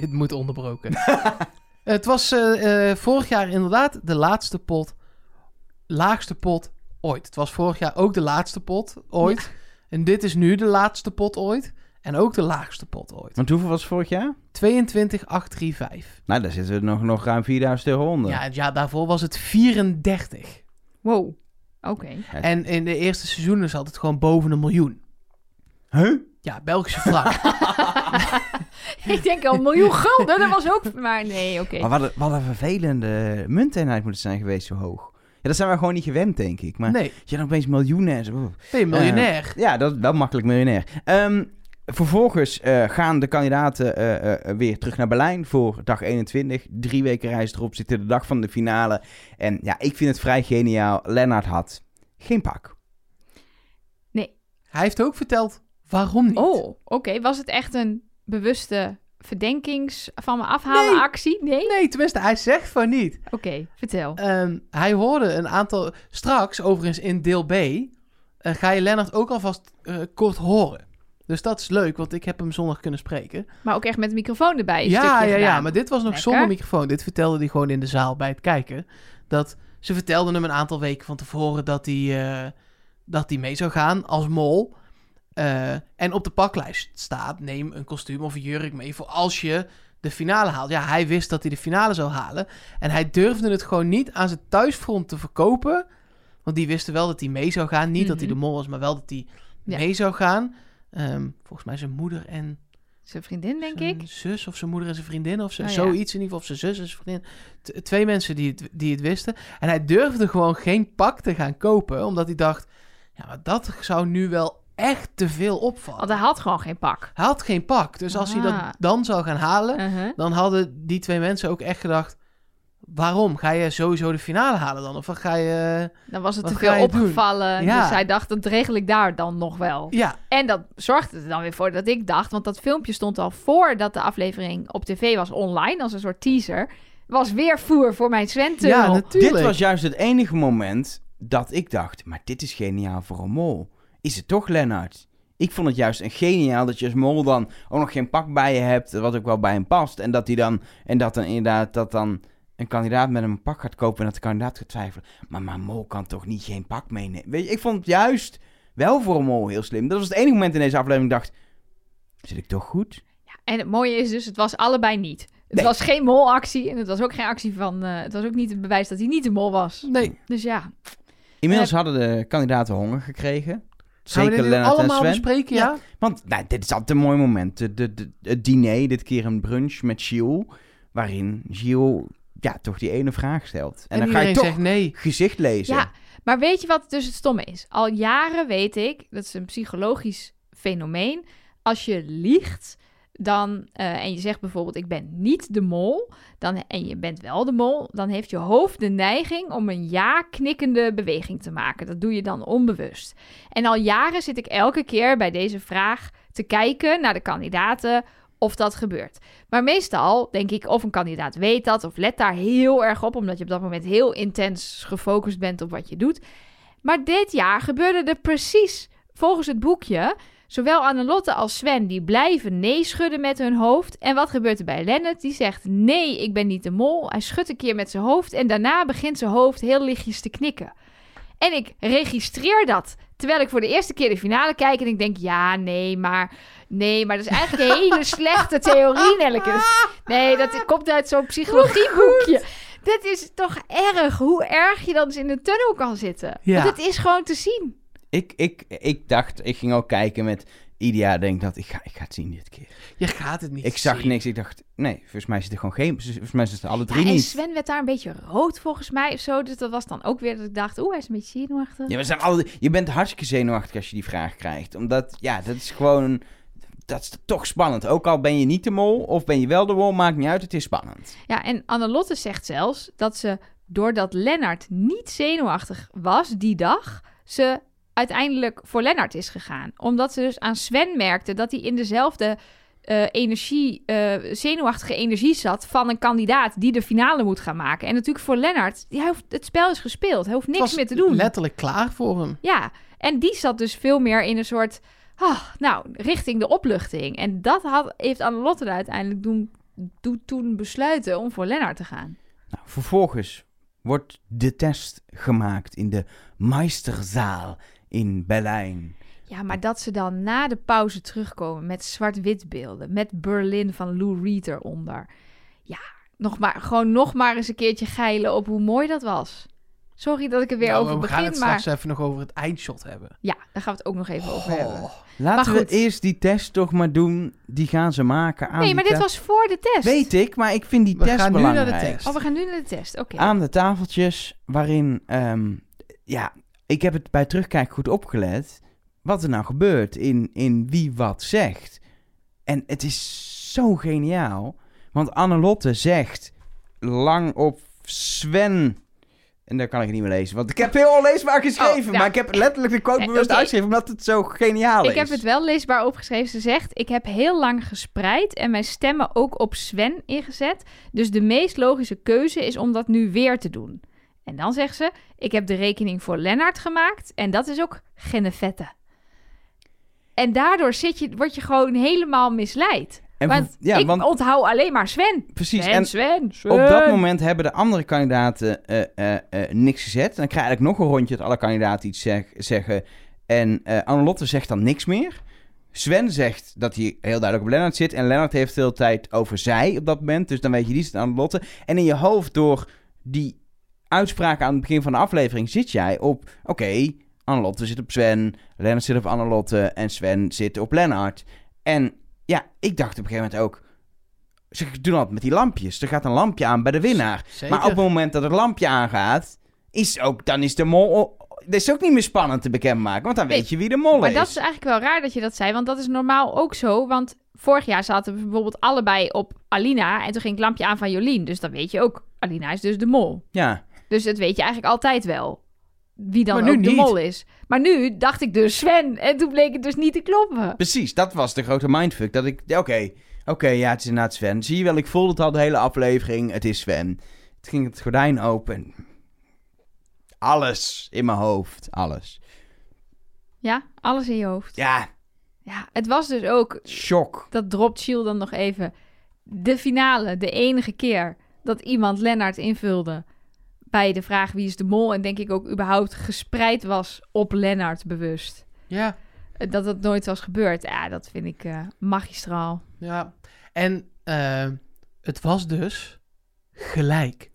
S1: Dit moet onderbroken. het was eh, eh, vorig jaar inderdaad de laatste pot. Laagste pot ooit. Het was vorig jaar ook de laatste pot ooit. En dit is nu de laatste pot ooit. En ook de laagste pot ooit.
S3: Want hoeveel was het vorig jaar?
S1: 22835.
S3: Nou, daar zitten we nog, nog ruim 4000 euro onder.
S1: Ja, het jaar daarvoor was het 34.
S2: Wow. Oké. <laughs>
S1: En in de eerste seizoenen zat het gewoon boven een miljoen.
S3: Huh?
S1: Ja, Belgische
S3: <laughs>
S1: frank.
S2: ik denk al een miljoen gulden. Dat was ook... Maar nee, oké.
S3: Maar wat een, wat een vervelende munteenheid moet het zijn geweest zo hoog. Ja, dat zijn we gewoon niet gewend, denk ik. Maar
S1: Nee,
S3: je dan opeens miljoenen en zo.
S1: ben je miljonair.
S3: Ja, dat is wel makkelijk miljonair. Ehm, vervolgens eh, gaan de kandidaten eh, eh, weer terug naar Berlijn voor dag 21. Drie weken reis erop zitten de dag van de finale. En ja, ik vind het vrij geniaal. Lennart had geen pak.
S1: Hij heeft ook verteld waarom niet.
S2: Oh, oké. Was het echt een bewuste verdenkings... van me afhalen
S1: Nee.
S2: actie? Nee?
S1: Nee, tenminste, hij zegt van niet.
S2: Oké, vertel.
S1: Ehm, hij hoorde een aantal. Straks, overigens in deel B, eh, ga je Lennart ook alvast eh, kort horen. Dus dat is leuk, want ik heb hem zondag kunnen spreken.
S2: Maar ook echt met de microfoon erbij een
S1: ja,
S2: stukje
S1: ja, ja,
S2: gedaan.
S1: maar dit was nog
S2: Lekker.
S1: zonder microfoon. Dit vertelde hij gewoon in de zaal bij het kijken. Dat ze vertelden hem een aantal weken van tevoren dat hij, eh, dat hij mee zou gaan als mol. Eh, en op de paklijst staat: neem een kostuum of een jurk mee voor als je de finale haalt. Ja, hij wist dat hij de finale zou halen. En hij durfde het gewoon niet aan zijn thuisfront te verkopen. Want die wisten wel dat hij mee zou gaan. Niet dat hij de
S2: Mhm.
S1: mol was, maar wel dat hij
S2: Ja.
S1: mee zou gaan. Ehm, volgens mij zijn moeder en
S2: Zijn vriendin, denk
S1: zijn
S2: ik.
S1: zus of zijn moeder en zijn vriendin of zo,
S2: Oh, ja.
S1: zoiets in ieder geval. Of zijn zus en zijn vriendin. T- twee mensen die het, die het wisten. En hij durfde gewoon geen pak te gaan kopen. Omdat hij dacht, ja, maar dat zou nu wel echt te veel
S2: Want
S1: opvallen.
S2: hij had gewoon geen pak.
S1: Hij had geen pak. Dus als hij
S2: Ah.
S1: dat dan zou gaan halen,
S2: Uh-huh.
S1: dan hadden die twee mensen ook echt gedacht... Waarom? Ga je sowieso de finale halen dan? Of ga je... eh,
S2: Dan was het
S1: Wat
S2: te
S1: ga
S2: veel
S1: je doen?
S2: opgevallen.
S1: Ja.
S2: Dus hij dacht, dat regel ik daar dan nog wel.
S1: Ja,
S2: En dat zorgde er dan weer voor dat ik dacht, want dat filmpje stond al voordat de aflevering op tv was online, als een soort teaser. Was weer voer voor mijn Zwente.
S1: ja natuurlijk.
S3: Dit was juist het enige moment dat ik dacht, maar dit is geniaal voor een mol. Is het toch, Lennart? Ik vond het juist een geniaal dat je als mol dan ook nog geen pak bij je hebt, wat ook wel bij hem past. En dat hij dan, en dat dan inderdaad, dat dan een kandidaat met hem een pak gaat kopen en dat de kandidaat gaat twijfelen. Maar mijn mol kan toch niet geen pak meenemen? Weet je, ik vond het juist wel voor een mol heel slim. Dat was het enige moment in deze aflevering dat ik dacht, zit ik toch goed?
S2: En het mooie is dus, het was allebei niet. Het
S3: Nee.
S2: was geen molactie en het was ook geen actie van. eh, het was ook niet het bewijs dat hij niet de mol was.
S1: Nee,
S2: Dus ja,
S3: Inmiddels hadden de kandidaten honger gekregen.
S1: Eh, gaan we
S3: Zeker
S1: dit nu
S3: Lennart en
S1: allemaal
S3: Sven.
S1: bespreken,
S3: Ja.
S1: ja?
S3: Want nou, dit is altijd een mooi moment. De, de, de- het diner, dit keer een brunch met Gilles. Waarin Gilles ja, toch die ene vraag stelt. En,
S1: En,
S3: dan ga je
S1: iedereen
S3: toch
S1: zegt nee.
S3: gezicht lezen.
S2: Ja, maar weet je wat dus het stomme is? Al jaren weet ik, dat is een psychologisch fenomeen. Als je liegt dan, eh, en je zegt bijvoorbeeld ik ben niet de mol, dan, en je bent wel de mol, dan heeft je hoofd de neiging om een ja-knikkende beweging te maken. Dat doe je dan onbewust. En al jaren zit ik elke keer bij deze vraag te kijken naar de kandidaten of dat gebeurt. Maar meestal denk ik of een kandidaat weet dat of let daar heel erg op, omdat je op dat moment heel intens gefocust bent op wat je doet. Maar dit jaar gebeurde er precies volgens het boekje. Zowel Annelotte als Sven die blijven nee schudden met hun hoofd. En wat gebeurt er bij Lennart? Die zegt nee, ik ben niet de mol. Hij schudt een keer met zijn hoofd en daarna begint zijn hoofd heel lichtjes te knikken. En ik registreer dat. Terwijl ik voor de eerste keer de finale kijk en ik denk, ja, nee, maar... Nee, maar dat is eigenlijk een hele slechte theorie, Nelleke. Nee, dat komt uit zo'n psychologieboekje. Dit is toch erg, hoe erg je dan eens in de tunnel kan zitten.
S1: Ja.
S2: Want het is gewoon te zien.
S3: Ik, ik, ik dacht, ik ging ook kijken met... Idia denkt dat, ik ga, ik ga het zien dit keer.
S1: Je gaat het niet
S3: Ik zag
S1: zien.
S3: niks, ik dacht... Nee, volgens mij zitten gewoon geen... Volgens mij zitten alle drie
S2: Ja, en
S3: niet.
S2: Sven werd daar een beetje rood volgens mij of zo. Dus dat was dan ook weer dat ik dacht, oeh, hij is een beetje zenuwachtig.
S3: Ja, maar ze zijn alle, je bent hartstikke zenuwachtig als je die vraag krijgt. Omdat, ja, dat is gewoon... Dat is toch spannend. Ook al ben je niet de mol of ben je wel de mol, maakt niet uit. Het is spannend.
S2: Ja, en Annelotte zegt zelfs dat ze, doordat Lennart niet zenuwachtig was die dag, ze uiteindelijk voor Lennart is gegaan. Omdat ze dus aan Sven merkte dat hij in dezelfde eh, eh, energie, eh, zenuwachtige energie zat van een kandidaat die de finale moet gaan maken. En natuurlijk voor Lennart, die hoeft, het spel is gespeeld. Hij hoeft niks
S1: was
S2: meer te doen.
S1: letterlijk klaar voor hem.
S2: Ja, en die zat dus veel meer in een soort, ah, nou, richting de opluchting. En dat had, heeft Annelotte er uiteindelijk doen, doe- toen besluiten om voor Lennart te gaan.
S3: Nou, vervolgens wordt de test gemaakt in de Meisterzaal in Berlijn.
S2: Ja, maar dat ze dan na de pauze terugkomen met zwart-wit beelden, met Berlin van Lou Reed eronder. Ja, nog maar, gewoon nog maar eens een keertje geilen op hoe mooi dat was. Sorry dat ik er weer
S1: Nou,
S2: over
S1: we gaan het
S2: begin, maar
S1: straks even nog over het eindshot hebben.
S2: ja, daar gaan we het ook nog even over hebben.
S1: Oh,
S3: Laten
S2: Maar
S3: we
S2: goed.
S3: eerst die test toch maar doen. Die gaan ze maken aan
S2: Nee,
S3: die
S2: maar
S1: eh,
S2: dit
S3: test.
S2: was voor de test.
S3: Weet ik, maar ik vind die
S1: we
S3: test
S1: gaan nu naar
S3: belangrijk.
S1: de test.
S2: Oh, we gaan nu naar de test. Oké.
S3: Aan de tafeltjes waarin, ehm, ja, ik heb het bij terugkijken goed opgelet. Wat er nou gebeurt in, in wie wat zegt. En het is zo geniaal. Want Annelotte zegt lang op Sven. En dat kan ik niet meer lezen. Want ik heb heel onleesbaar geschreven.
S2: Oh, ja.
S3: Maar ik heb letterlijk de quote
S2: Eh,
S3: bewust
S2: <laughs> oké.
S3: uitgeschreven. Omdat het zo geniaal is.
S2: Ik heb het wel leesbaar opgeschreven. Ze zegt: Ik heb heel lang gespreid en mijn stemmen ook op Sven ingezet. Dus de meest logische keuze is om dat nu weer te doen. En dan zegt ze: Ik heb de rekening voor Lennart gemaakt en dat is ook Genevette. En daardoor zit je, word je gewoon helemaal misleid.
S3: En
S2: want
S3: ver- ja,
S2: ik
S3: want
S2: onthoud alleen maar Sven.
S3: precies.
S2: Sven,
S3: En
S2: Sven, Sven.
S3: op dat moment hebben de andere kandidaten eh, eh, eh, niks gezet. En dan krijg je eigenlijk nog een rondje dat alle kandidaten iets zeg- zeggen. En eh Annelotte zegt dan niks meer. Sven zegt dat hij heel duidelijk op Lennart zit. En Lennart heeft de hele tijd over zij op dat moment. Dus dan weet je, die zit aan Annelotte. En in je hoofd door die uitspraken aan het begin van de aflevering zit jij op... Oké, Annelotte zit op Sven. Lennart zit op Annelotte. En Sven zit op Lennart. En ja, ik dacht op een gegeven moment ook... Ze doen altijd met die lampjes. Er gaat een lampje aan bij de winnaar.
S1: zeker.
S3: Maar op het moment dat het lampje aangaat, is ook, dan is de mol. Dat is ook niet meer spannend te bekendmaken, want dan
S2: Nee,
S3: weet je wie de mol
S2: Maar
S3: is.
S2: dat is eigenlijk wel raar dat je dat zei, want dat is normaal ook zo. Want vorig jaar zaten we bijvoorbeeld allebei op Alina en toen ging het lampje aan van Jolien. Dus dan weet je ook, Alina is dus de mol.
S3: Ja,
S2: Dus dat weet je eigenlijk altijd wel, wie dan
S1: Maar nu
S2: ook de
S1: niet.
S2: mol is. Maar nu dacht ik dus Sven en toen bleek het dus niet te kloppen.
S3: precies. Dat was de grote mindfuck. Dat ik, ja, oké, oké, ja, het is inderdaad Sven. Zie je wel, ik voelde het al de hele aflevering. Het is Sven. Het ging het gordijn open. Alles in mijn hoofd, alles.
S2: Ja, alles in je hoofd.
S3: Ja,
S2: Ja, het was dus ook,
S3: shock.
S2: dat dropt Shield dan nog even, de finale, de enige keer dat iemand Lennart invulde bij de vraag wie is de mol en denk ik ook überhaupt gespreid was op Lennart bewust. Eh,
S1: Ja,
S2: dat dat nooit was gebeurd. Ja, dat vind ik eh, magistraal.
S1: ja. En eh, het was dus gelijk.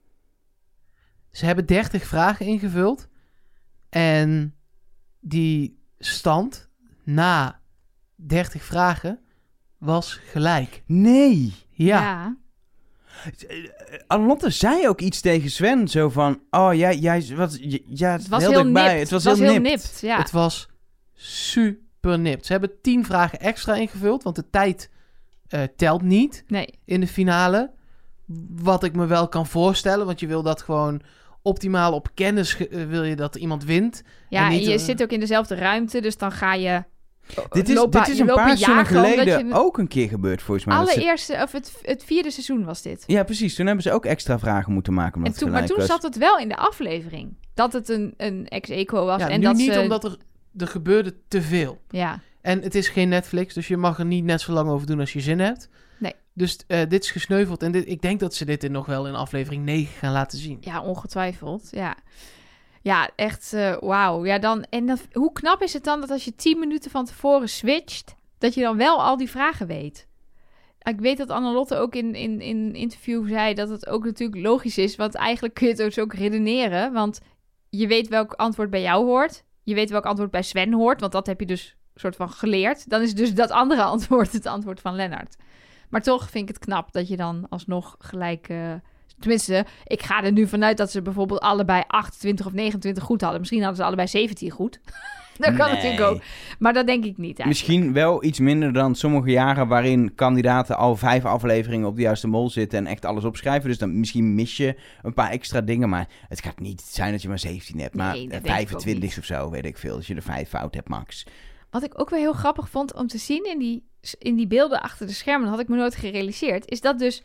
S1: Ze hebben 30 vragen ingevuld. En die stand na 30 vragen was gelijk.
S3: Nee.
S1: Ja,
S3: Anlotte zei ook iets tegen Sven, zo van, oh jij, jij, wat, j- ja,
S2: Het was
S3: heel
S2: heel nipt.
S3: dichtbij. Het was, heel, nipt.
S2: ja.
S1: het was super nipt. Ze hebben 10 vragen extra ingevuld, want de tijd eh, telt niet.
S2: Nee,
S1: in de finale. Wat ik me wel kan voorstellen, want je wil dat gewoon optimaal op kennis ge- eh, wil je dat iemand wint.
S2: ja, en
S1: En niet,
S2: je
S1: eh,
S2: zit ook in dezelfde ruimte, dus dan ga je...
S3: Dit is,
S2: lopen-
S3: dit is
S2: je
S3: een
S2: lopen
S3: paar seizoenen
S2: jagen omdat
S3: geleden
S2: je- e-
S3: ook een keer gebeurd, volgens mij. dat ze-
S2: Allereerste, of het, het vierde seizoen was dit.
S3: Ja, precies. Toen hebben ze ook extra vragen moeten maken. Omdat
S2: En toen,
S3: het
S2: maar
S3: gelijk
S2: toen
S3: was.
S2: zat het wel in de aflevering. Dat het een, een ex-eco was.
S1: ja,
S2: en
S1: nu
S2: dat
S1: niet
S2: ze,
S1: omdat er, er gebeurde te veel.
S2: Ja,
S1: En het is geen Netflix, dus je mag er niet net zo lang over doen als je zin hebt.
S2: Nee.
S1: Dus eh, dit is gesneuveld en dit, ik denk dat ze dit in nog wel in aflevering 9 gaan laten zien.
S2: ja, ongetwijfeld, ja. Ja, echt, eh, wauw. Ja, dan, en dat, hoe knap is het dan dat als je tien minuten van tevoren switcht, dat je dan wel al die vragen weet? Ik weet dat Annelotte ook in, in, in een interview zei dat het ook natuurlijk logisch is, want eigenlijk kun je het dus ook redeneren, want je weet welk antwoord bij jou hoort, je weet welk antwoord bij Sven hoort, want dat heb je dus soort van geleerd. Dan is dus dat andere <laughs> antwoord het antwoord van Lennart. Maar toch vind ik het knap dat je dan alsnog gelijk... eh, Tenminste, ik ga er nu vanuit dat ze bijvoorbeeld allebei 28 of 29 goed hadden. Misschien hadden ze allebei 17 goed. <laughs> dat kan
S3: Nee.
S2: natuurlijk ook. Maar dat denk ik niet eigenlijk.
S3: Misschien wel iets minder dan sommige jaren waarin kandidaten al vijf afleveringen op de juiste mol zitten en echt alles opschrijven. Dus dan misschien mis je een paar extra dingen. Maar het gaat niet zijn dat je maar 17 hebt, maar
S2: Nee, dat denk
S3: eh,
S2: ik ook
S3: 25
S2: niet.
S3: of zo, weet ik veel. Dat je er vijf fout hebt, max.
S2: Wat ik ook wel heel grappig vond om te zien in die, in die beelden achter de schermen, dat had ik me nooit gerealiseerd, is dat dus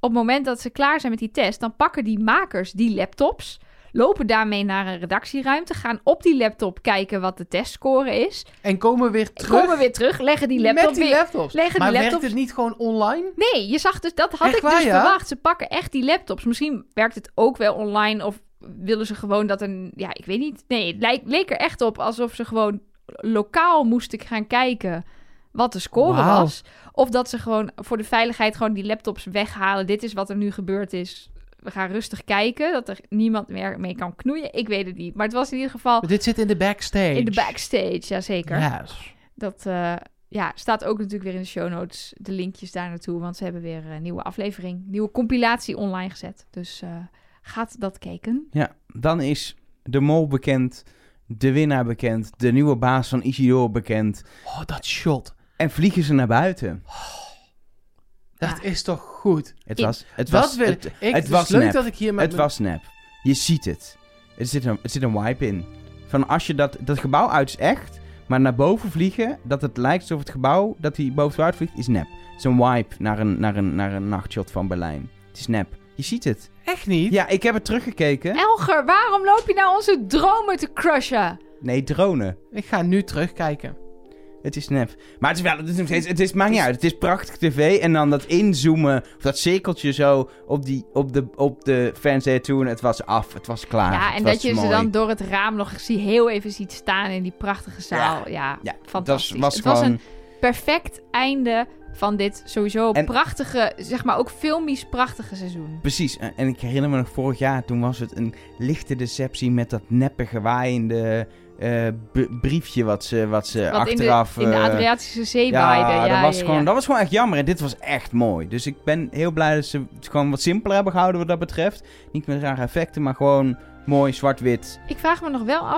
S2: op het moment dat ze klaar zijn met die test, dan pakken die makers die laptops, lopen daarmee naar een redactieruimte, gaan op die laptop kijken wat de testscore is,
S1: En komen weer terug
S2: komen weer terug, leggen die laptop
S1: met die
S2: weer...
S1: laptops.
S2: leggen
S1: maar
S2: die
S1: werkt
S2: laptops-
S1: het niet gewoon online?
S2: Nee, je zag dus, dat had
S1: Echt
S2: ik
S1: waar,
S2: dus
S1: ja?
S2: verwacht. Ze pakken echt die laptops. Misschien werkt het ook wel online of willen ze gewoon dat een, ja, ik weet niet. Nee, het lijk- leek er echt op alsof ze gewoon lokaal moesten gaan kijken wat de score
S1: Wauw.
S2: was. Of dat ze gewoon voor de veiligheid gewoon die laptops weghalen. Dit is wat er nu gebeurd is. We gaan rustig kijken, dat er niemand meer mee kan knoeien. Ik weet het niet. Maar het was in ieder geval
S1: Dit zit in de backstage.
S2: in de backstage, jazeker.
S1: Yes.
S2: Dat eh, ja, staat ook natuurlijk weer in de show notes. De linkjes daar naartoe. Want ze hebben weer een nieuwe aflevering, nieuwe compilatie online gezet. Dus eh, gaat dat kijken.
S3: Ja, dan is de mol bekend, de winnaar bekend, de nieuwe baas van Isidore bekend.
S1: Oh, dat shot.
S3: En vliegen ze naar buiten.
S1: Dat is toch goed?
S3: Het
S2: Ik-
S3: was, het
S1: dat
S3: was,
S1: wil
S3: het,
S1: ik.
S3: het
S1: Het
S3: was
S1: was leuk
S3: nep.
S1: dat ik hier met
S3: het
S1: mijn-
S3: was nep. Je ziet het. Er zit een, er zit een wipe in. Van als je dat, dat gebouw uit is echt, maar naar boven vliegen, dat het lijkt alsof het gebouw dat hij boven uit vliegt, is nep. Het is een wipe naar een, naar een, naar een nachtshot van Berlijn. Het is nep. Je ziet het.
S1: echt niet.
S3: Ja, ik heb het teruggekeken.
S2: Elger, waarom loop je nou onze dromen te crushen?
S3: Nee, dronen.
S1: Ik ga nu terugkijken.
S3: Het is nep. Maar het is wel, het is nog steeds, het is, maakt niet uit. Het is prachtig tv. En dan dat inzoomen, of dat cirkeltje zo op, die, op, de, op de fans daar toen. Het was af, het was klaar.
S2: ja,
S3: Ah, het
S2: en
S3: was
S2: dat je
S3: mooi.
S2: ze dan door het raam nog eens zie- heel even ziet staan in die prachtige zaal. Ja,
S3: Ja,
S2: fantastisch.
S3: Dat was
S2: het
S3: gewoon...
S2: was een perfect einde van dit sowieso
S3: En- eh, Dus Dus dus eh,
S1: eh, Oh
S3: Eh,
S1: Eh,
S2: Nou,
S1: Nou,